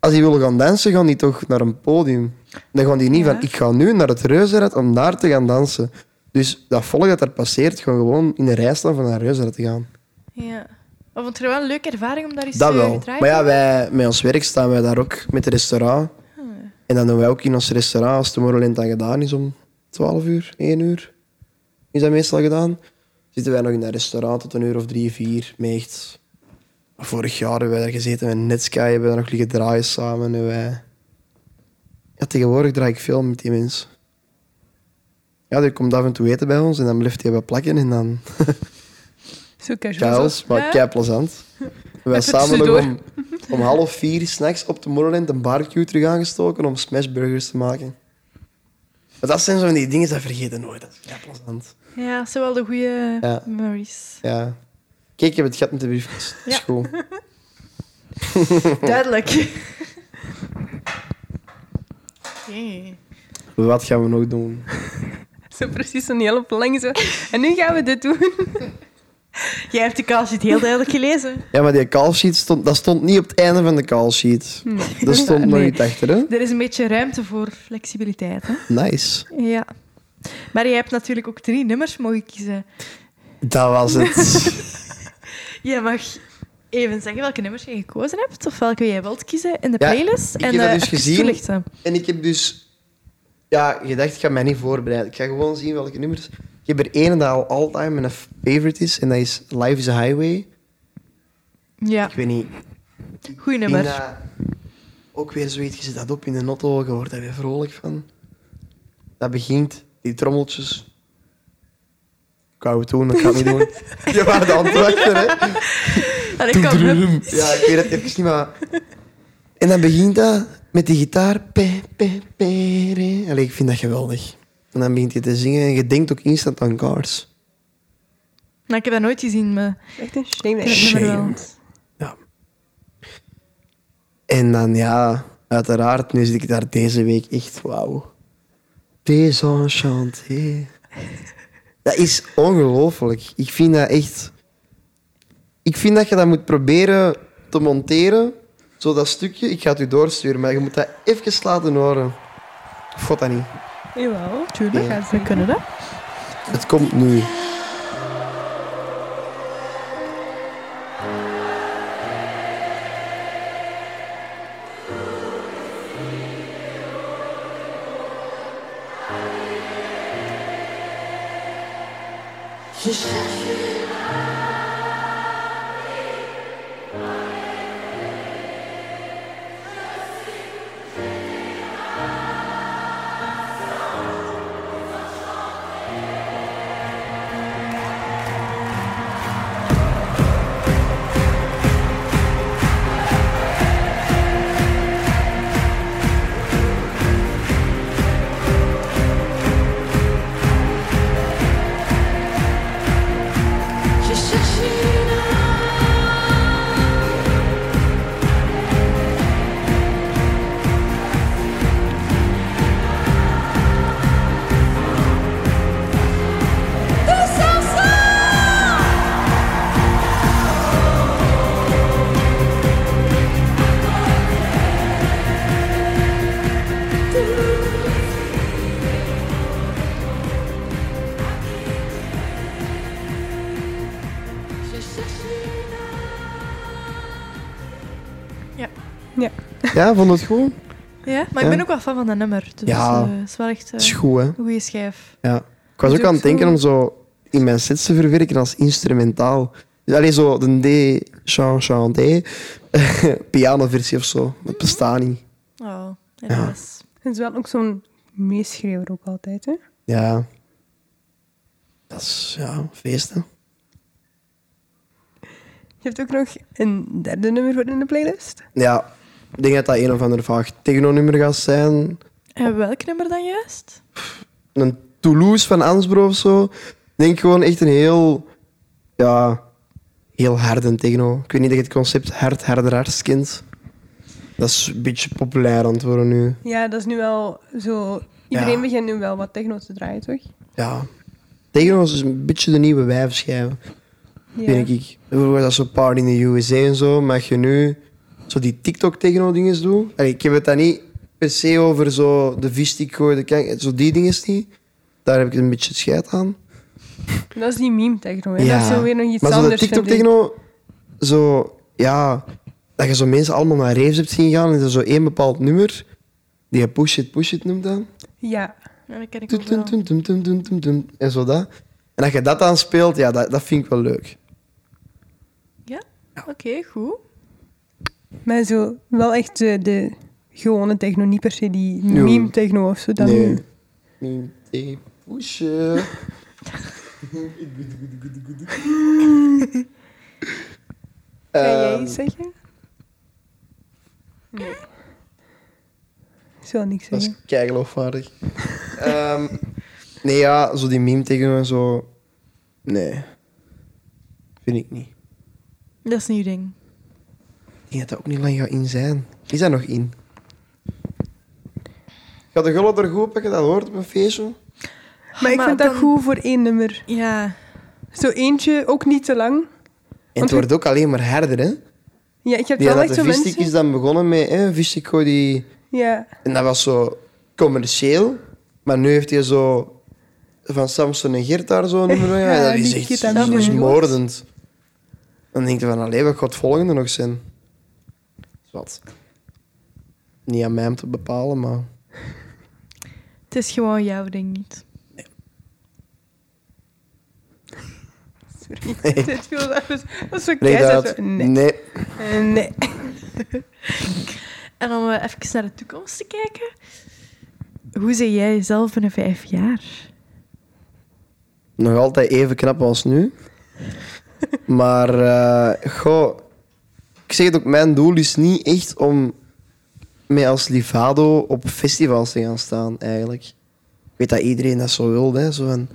Speaker 2: Als die willen gaan dansen, gaan die toch naar een podium. Dan gaan die niet
Speaker 1: Ja.
Speaker 2: van, ik ga nu naar het Reuzenrad om daar te gaan dansen. Dus dat volk dat daar passeert, gaan gewoon in de rij staan van naar Reuzenrad te gaan.
Speaker 1: Ja. Of vond je wel een leuke ervaring om daar eens
Speaker 2: Dat
Speaker 1: eh,
Speaker 2: wel.
Speaker 1: gedraaid
Speaker 2: Maar ja,
Speaker 1: te
Speaker 2: wij, met ons werk staan wij daar ook met het restaurant.
Speaker 1: Ah,
Speaker 2: En dan doen wij ook in ons restaurant, als Tomorrowland dan gedaan is om 12 uur, 1 uur, is dat meestal gedaan. Zitten wij nog in dat restaurant tot een uur of drie, vier, met echt... Vorig jaar hebben wij daar gezeten met Netsky, hebben we daar nog liggen draaien samen. En wij... Ja, tegenwoordig draai ik veel met die mensen. Ja, die komt af en toe eten bij ons en dan blijft hij wat plakken en dan...
Speaker 3: Zo casual.
Speaker 2: Chaos, maar
Speaker 1: Ja.
Speaker 2: kei plezant. We hebben
Speaker 3: Even
Speaker 2: samen nog
Speaker 3: tussendoor.
Speaker 2: om, om half vier s'nachts op de Morrowland een barbecue terug aangestoken om smashburgers te maken. Maar dat zijn zo van die dingen, dat vergeten nooit. Dat is kei plezant.
Speaker 1: Ja, dat zijn wel de goede
Speaker 2: Ja.
Speaker 1: memories.
Speaker 2: Ja. Kijk, ik heb het gat met de briefkast. Dat is
Speaker 1: Ja.
Speaker 2: goed.
Speaker 1: Duidelijk. Oké.
Speaker 2: Wat gaan we nog doen?
Speaker 3: Zo precies zo'n hele plank zo. En nu gaan we dit doen.
Speaker 1: Jij hebt de kaas niet heel duidelijk gelezen.
Speaker 2: Ja, maar die call sheet stond, dat stond niet op het einde van de call sheet. Dat stond nog
Speaker 1: Nee.
Speaker 2: niet achter, hè?
Speaker 1: Er is een beetje ruimte voor flexibiliteit. Hè?
Speaker 2: Nice.
Speaker 1: Ja. Maar je hebt natuurlijk ook drie nummers mogen kiezen.
Speaker 2: Dat was het.
Speaker 1: Je mag even zeggen welke nummers je gekozen hebt of welke jij wilt kiezen in de
Speaker 2: Ja,
Speaker 1: playlist.
Speaker 2: ik
Speaker 1: en
Speaker 2: heb dat
Speaker 1: eh,
Speaker 2: dus
Speaker 1: even
Speaker 2: gezien.
Speaker 1: toelichten.
Speaker 2: En ik heb dus ja, gedacht, ik ga mij niet voorbereiden. Ik ga gewoon zien welke nummers. Ik heb er één dat al all-time mijn favorite is. En dat is Life is a Highway.
Speaker 1: Ja,
Speaker 2: Ik weet niet.
Speaker 1: goeie
Speaker 2: ik
Speaker 1: nummer.
Speaker 2: vind dat ook weer zoiets. Je zit dat op in de notto. Je wordt daar weer vrolijk van. Dat begint. Die trommeltjes. Ik wou het doen, ik ga het niet doen. Je waren de antwoorden, hè?
Speaker 1: En ik kan hem.
Speaker 2: Ja, ik weet het even niet, maar... En dan begint dat met die gitaar. Pe, pe, pe, re. Allee, ik vind dat geweldig. En dan begint je te zingen en je denkt ook instant aan Cars.
Speaker 1: Maar ik heb dat nooit gezien, maar
Speaker 3: Echt een shame. dat
Speaker 1: ik
Speaker 3: je
Speaker 1: heb
Speaker 3: dat
Speaker 1: dat
Speaker 3: nummer
Speaker 1: nummer
Speaker 3: wel-
Speaker 1: wel.
Speaker 2: En dan, ja, uiteraard, nu zit ik daar deze week echt, wauw. Désenchanté. Dat is ongelooflijk. Ik vind dat echt... Ik vind dat je dat moet proberen te monteren. Zo dat stukje, ik ga het u doorsturen, maar je moet dat even laten horen. Of gaat dat niet?
Speaker 3: Jawel.
Speaker 1: Tuurlijk,
Speaker 2: Ja.
Speaker 1: we kunnen dat.
Speaker 2: Het komt nu.
Speaker 4: Je cherche une âme. Tous ensemble. Je cherche une âme.
Speaker 2: Ja, vond het goed?
Speaker 1: Ja, maar ik
Speaker 2: Ja.
Speaker 1: ben ook wel fan van dat nummer. Dus
Speaker 2: Ja.
Speaker 1: ja. het is wel echt eh,
Speaker 2: Het is goed, hè?
Speaker 1: een goede schijf.
Speaker 2: Ik was ook
Speaker 3: Dat is
Speaker 2: aan
Speaker 3: ook
Speaker 2: het denken
Speaker 3: zo.
Speaker 2: om zo in mijn sets te verwerken als instrumentaal. Dus alleen zo de D, chan, chan, D, pianoversie of zo. Dat bestaat niet.
Speaker 1: Oh, helaas.
Speaker 3: Het is wel ook zo'n meeschreeuwer ook altijd, hè?
Speaker 2: Ja. Dat is, ja, feesten.
Speaker 3: Je hebt ook nog een derde nummer voor in de playlist.
Speaker 2: Ja, ik denk dat dat een of ander vaag techno-nummer gaat zijn.
Speaker 1: En welk nummer dan juist?
Speaker 2: Een Toulouse van Ansbro of zo. Ik denk gewoon echt een heel, ja, heel harde techno. Ik weet niet dat je het concept hard, harder, hardst kent. Dat is een beetje populair aan het worden nu.
Speaker 3: Ja, dat is nu wel zo... Iedereen
Speaker 2: Ja.
Speaker 3: begint nu wel wat techno te draaien, toch?
Speaker 2: Ja. Techno is een beetje de nieuwe wijfschijf,
Speaker 3: Ja.
Speaker 2: vind ik. Vroeger was dat zo party in de USA en zo, maar als je nu zo die TikTok-techno-dinges doet... Allee, ik heb het dan niet per se over zo de visstick gooien, de kank, zo die dinges niet. Daar heb ik een beetje scheid aan.
Speaker 3: Dat is die meme-techno, hè? Dat is zo weer nog iets
Speaker 2: maar zo de
Speaker 3: anders, vind ik.
Speaker 2: TikTok-techno, zo... Ja, dat je zo mensen allemaal naar raves hebt zien gaan en dat is zo één bepaald nummer, die je Push It, Push It noemt dan.
Speaker 3: Ja.
Speaker 1: Ja, dat ken ik
Speaker 2: Tum,
Speaker 1: ook wel.
Speaker 2: tum, tum, tum, tum, tum, tum, tum. En zo dat. En als je dat dan speelt, ja, dat, dat vind ik wel leuk.
Speaker 1: Oké, goed.
Speaker 3: Maar zo, wel echt de, de gewone techno, niet per se die
Speaker 2: Ja.
Speaker 3: meme-techno of zo. Dat niet.
Speaker 2: Niet te pushen.
Speaker 3: Kan jij
Speaker 2: Ehm,
Speaker 3: iets zeggen? Nee. Ik zal niks
Speaker 2: dat is
Speaker 3: zeggen.
Speaker 2: keigeloofwaardig. Ehm, nee, ja, zo die meme tegen en zo. Nee. Vind ik niet.
Speaker 1: Dat is een nieuw ding.
Speaker 2: Ik denk dat dat ook niet lang gaat in zijn. Is dat nog in? Gaat de gulle er goed op dat je dat hoort op een feestje?
Speaker 3: Maar
Speaker 1: Ah,
Speaker 3: ik
Speaker 1: Maar
Speaker 3: vind dat
Speaker 1: dan-
Speaker 3: goed voor één nummer.
Speaker 1: Ja.
Speaker 3: Zo eentje, ook niet te lang.
Speaker 2: En het
Speaker 3: je-
Speaker 2: wordt ook alleen maar harder, hè?
Speaker 3: Ja, ik heb
Speaker 2: Ja,
Speaker 3: wel
Speaker 2: dat
Speaker 3: echt
Speaker 2: de
Speaker 3: zo
Speaker 2: Vistik
Speaker 3: mensen...
Speaker 2: is dan begonnen met... Hè, Vistico die...
Speaker 3: Ja.
Speaker 2: En dat was zo commercieel. Maar nu heeft hij zo... Van Samson en Gert daar zo'n nummer mee.
Speaker 3: Ja,
Speaker 2: Ja, dat is
Speaker 3: die
Speaker 2: echt
Speaker 3: Gert hebben
Speaker 2: dat
Speaker 1: we
Speaker 2: is
Speaker 1: gehoord.
Speaker 2: moordend. Dan denk je van, allee, wat gaat het volgende nog zijn? Wat? Niet aan mij om te bepalen, maar...
Speaker 1: Het is gewoon jouw ding niet.
Speaker 3: Sorry. Dit viel even... Dat is zo
Speaker 2: Nee,
Speaker 3: keizerd.
Speaker 2: dat...
Speaker 3: Nee.
Speaker 2: nee.
Speaker 3: Eh, nee.
Speaker 1: En om eh, even naar de toekomst te kijken. Hoe zie jij jezelf binnen vijf jaar?
Speaker 2: Nog altijd even knap als nu. Maar, eh, goh... Ik zeg het ook, mijn doel is niet echt om mij als Livado op festivals te gaan staan, eigenlijk. Ik weet dat iedereen dat zo wil, hè. Zo van,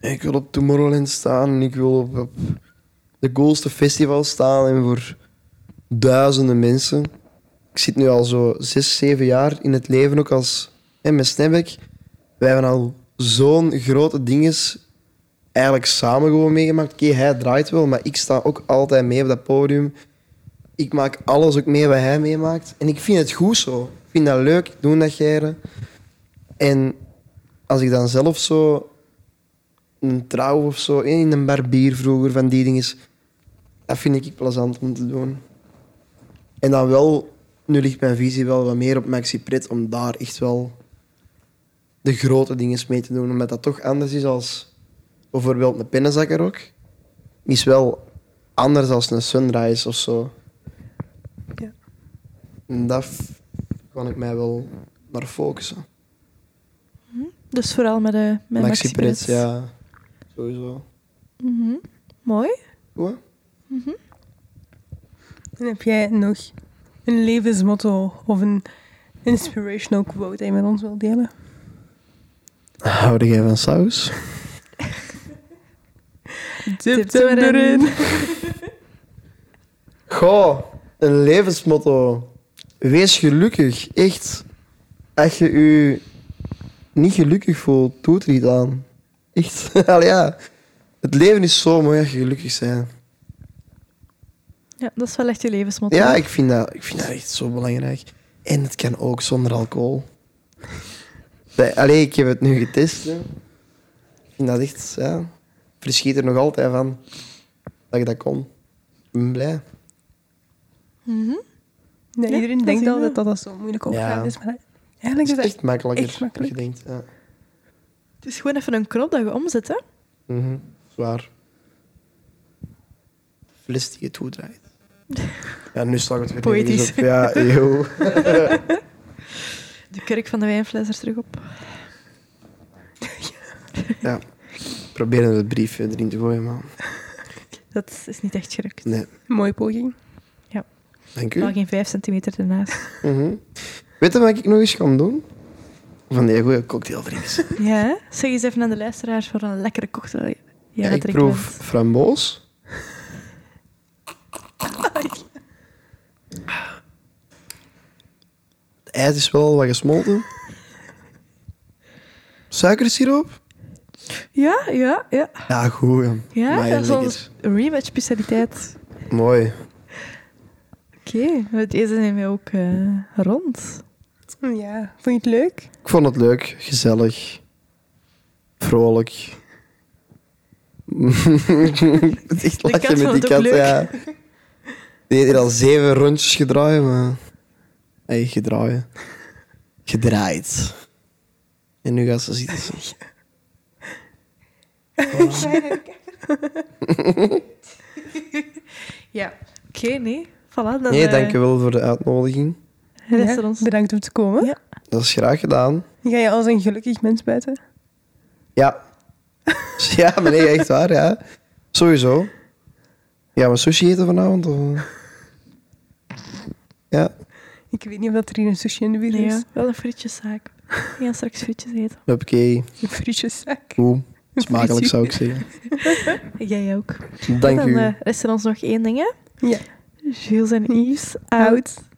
Speaker 2: ik wil op Tomorrowland staan en ik wil op, op de coolste festival staan en voor duizenden mensen. Ik zit nu al zo zes, zeven jaar in het leven, ook als... En met Snapback, wij hebben al zo'n grote dinges eigenlijk samen gewoon meegemaakt. Oké, hij draait wel, maar ik sta ook altijd mee op dat podium. Ik maak alles ook mee wat hij meemaakt. En ik vind het goed zo. Ik vind dat leuk, ik doe dat geren. En als ik dan zelf zo een trouw of zo, eh, in een barbier vroeger van die dingen, dat vind ik plezant om te doen. En dan wel, nu ligt mijn visie wel wat meer op Maxi Pret om daar echt wel de grote dingen mee te doen. Omdat dat toch anders is als bijvoorbeeld een pinnenzakker ook, is wel anders dan een sunrise of zo.
Speaker 3: Ja.
Speaker 2: En daar f- kan ik mij wel naar focussen.
Speaker 1: Dus vooral met de met
Speaker 2: Maxi
Speaker 1: Maxi-pret.
Speaker 2: Prits, ja. Sowieso.
Speaker 1: Mhm. Mooi.
Speaker 2: Goed, hè?
Speaker 3: En heb jij nog een levensmotto of een inspirational quote die je met ons wilt delen?
Speaker 2: Hou jij van saus?
Speaker 3: Tip
Speaker 1: hem erin.
Speaker 2: Goh, een levensmotto. Wees gelukkig, echt. Als je je niet gelukkig voelt, doe het er niet aan. Echt. Allee, ja. Het leven is zo mooi als je gelukkig bent.
Speaker 1: Ja, dat is wel echt je levensmotto.
Speaker 2: Ja, ik vind, dat, ik vind dat echt zo belangrijk. En het kan ook zonder alcohol. Bij- Allee, ik heb het nu getest. hè. Ik vind dat echt... Ja, ik verschiet er nog altijd van dat ik dat kon. Ik ben blij.
Speaker 1: Mhm.
Speaker 3: Nee,
Speaker 1: Ja,
Speaker 3: iedereen
Speaker 1: dat
Speaker 3: denkt
Speaker 1: zie je.
Speaker 3: altijd dat dat zo'n moeilijke opgave
Speaker 2: Ja.
Speaker 3: is, maar
Speaker 2: Het
Speaker 3: eigenlijk
Speaker 2: is
Speaker 3: is dat
Speaker 2: echt makkelijker
Speaker 3: echt makkelijk.
Speaker 2: dan je denkt. Ja.
Speaker 1: Het is gewoon even een knop dat je omzet, hè?
Speaker 2: Mhm, Zwaar. Fles die je toedraait. Ja, nu slag het weer
Speaker 1: Poëtisch.
Speaker 2: ergens op. Ja, yo.
Speaker 1: De kurk van de wijnfles er terug op.
Speaker 2: Ja. Probeer het briefje erin te gooien, man.
Speaker 1: Dat is niet echt gelukt.
Speaker 2: Nee,
Speaker 3: een mooie poging.
Speaker 2: dank u.
Speaker 1: Wel geen vijf centimeter ernaast.
Speaker 2: Mhm. Weet je wat ik nog eens kan doen? Van die goede cocktail drinken.
Speaker 1: ja, hè? zeg eens even aan de luisteraars voor een lekkere cocktail. Ja,
Speaker 2: Ja,
Speaker 1: dat
Speaker 2: ik
Speaker 1: drinkt
Speaker 2: proef
Speaker 1: wel.
Speaker 2: framboos. Het ijs is wel wat gesmolten. Suikersiroop?
Speaker 1: Ja, ja, ja.
Speaker 2: Ja, goed. Ja,
Speaker 1: Ja,
Speaker 2: Amai,
Speaker 1: dat is onze
Speaker 2: lekker.
Speaker 1: rematch-specialiteit.
Speaker 2: Mooi.
Speaker 1: Oké, met deze nemen we ook eh, rond.
Speaker 3: Ja, vond je het leuk?
Speaker 2: Ik vond het leuk, gezellig, vrolijk. Ik moet echt lachen
Speaker 1: kat vond
Speaker 2: met
Speaker 1: het
Speaker 2: die
Speaker 1: ook
Speaker 2: kat.
Speaker 1: leuk.
Speaker 2: Ja. Die heeft hier al zeven rondjes gedraaid, maar. Hey, gedraaid. Gedraaid. En nu gaat ze zitten.
Speaker 1: Ja. Oké, nee. Voilà, dan...
Speaker 2: Nee,
Speaker 1: eh,
Speaker 2: dankjewel voor de uitnodiging.
Speaker 1: Rest
Speaker 3: Ja,
Speaker 1: aan ons.
Speaker 3: Bedankt om te komen.
Speaker 1: Ja.
Speaker 2: Dat is graag gedaan.
Speaker 3: Ga je als een gelukkig mens buiten?
Speaker 2: Ja. Ja, maar nee, echt waar, ja. Sowieso. Ja, maar sushi eten vanavond? Of? Ja,
Speaker 3: Ik weet niet of dat er hier een sushi in de buurt
Speaker 1: Nee,
Speaker 3: is.
Speaker 1: ja. wel een frietjeszaak. We gaan straks frietjes eten.
Speaker 2: oké.
Speaker 3: Een frietjeszak.
Speaker 2: Goed. Smakelijk zou ik zeggen.
Speaker 1: Jij ook.
Speaker 2: Dank
Speaker 1: dan
Speaker 2: u.
Speaker 1: eh, rest er ons nog één ding, hè?
Speaker 3: Ja.
Speaker 1: Jules en Yves, out.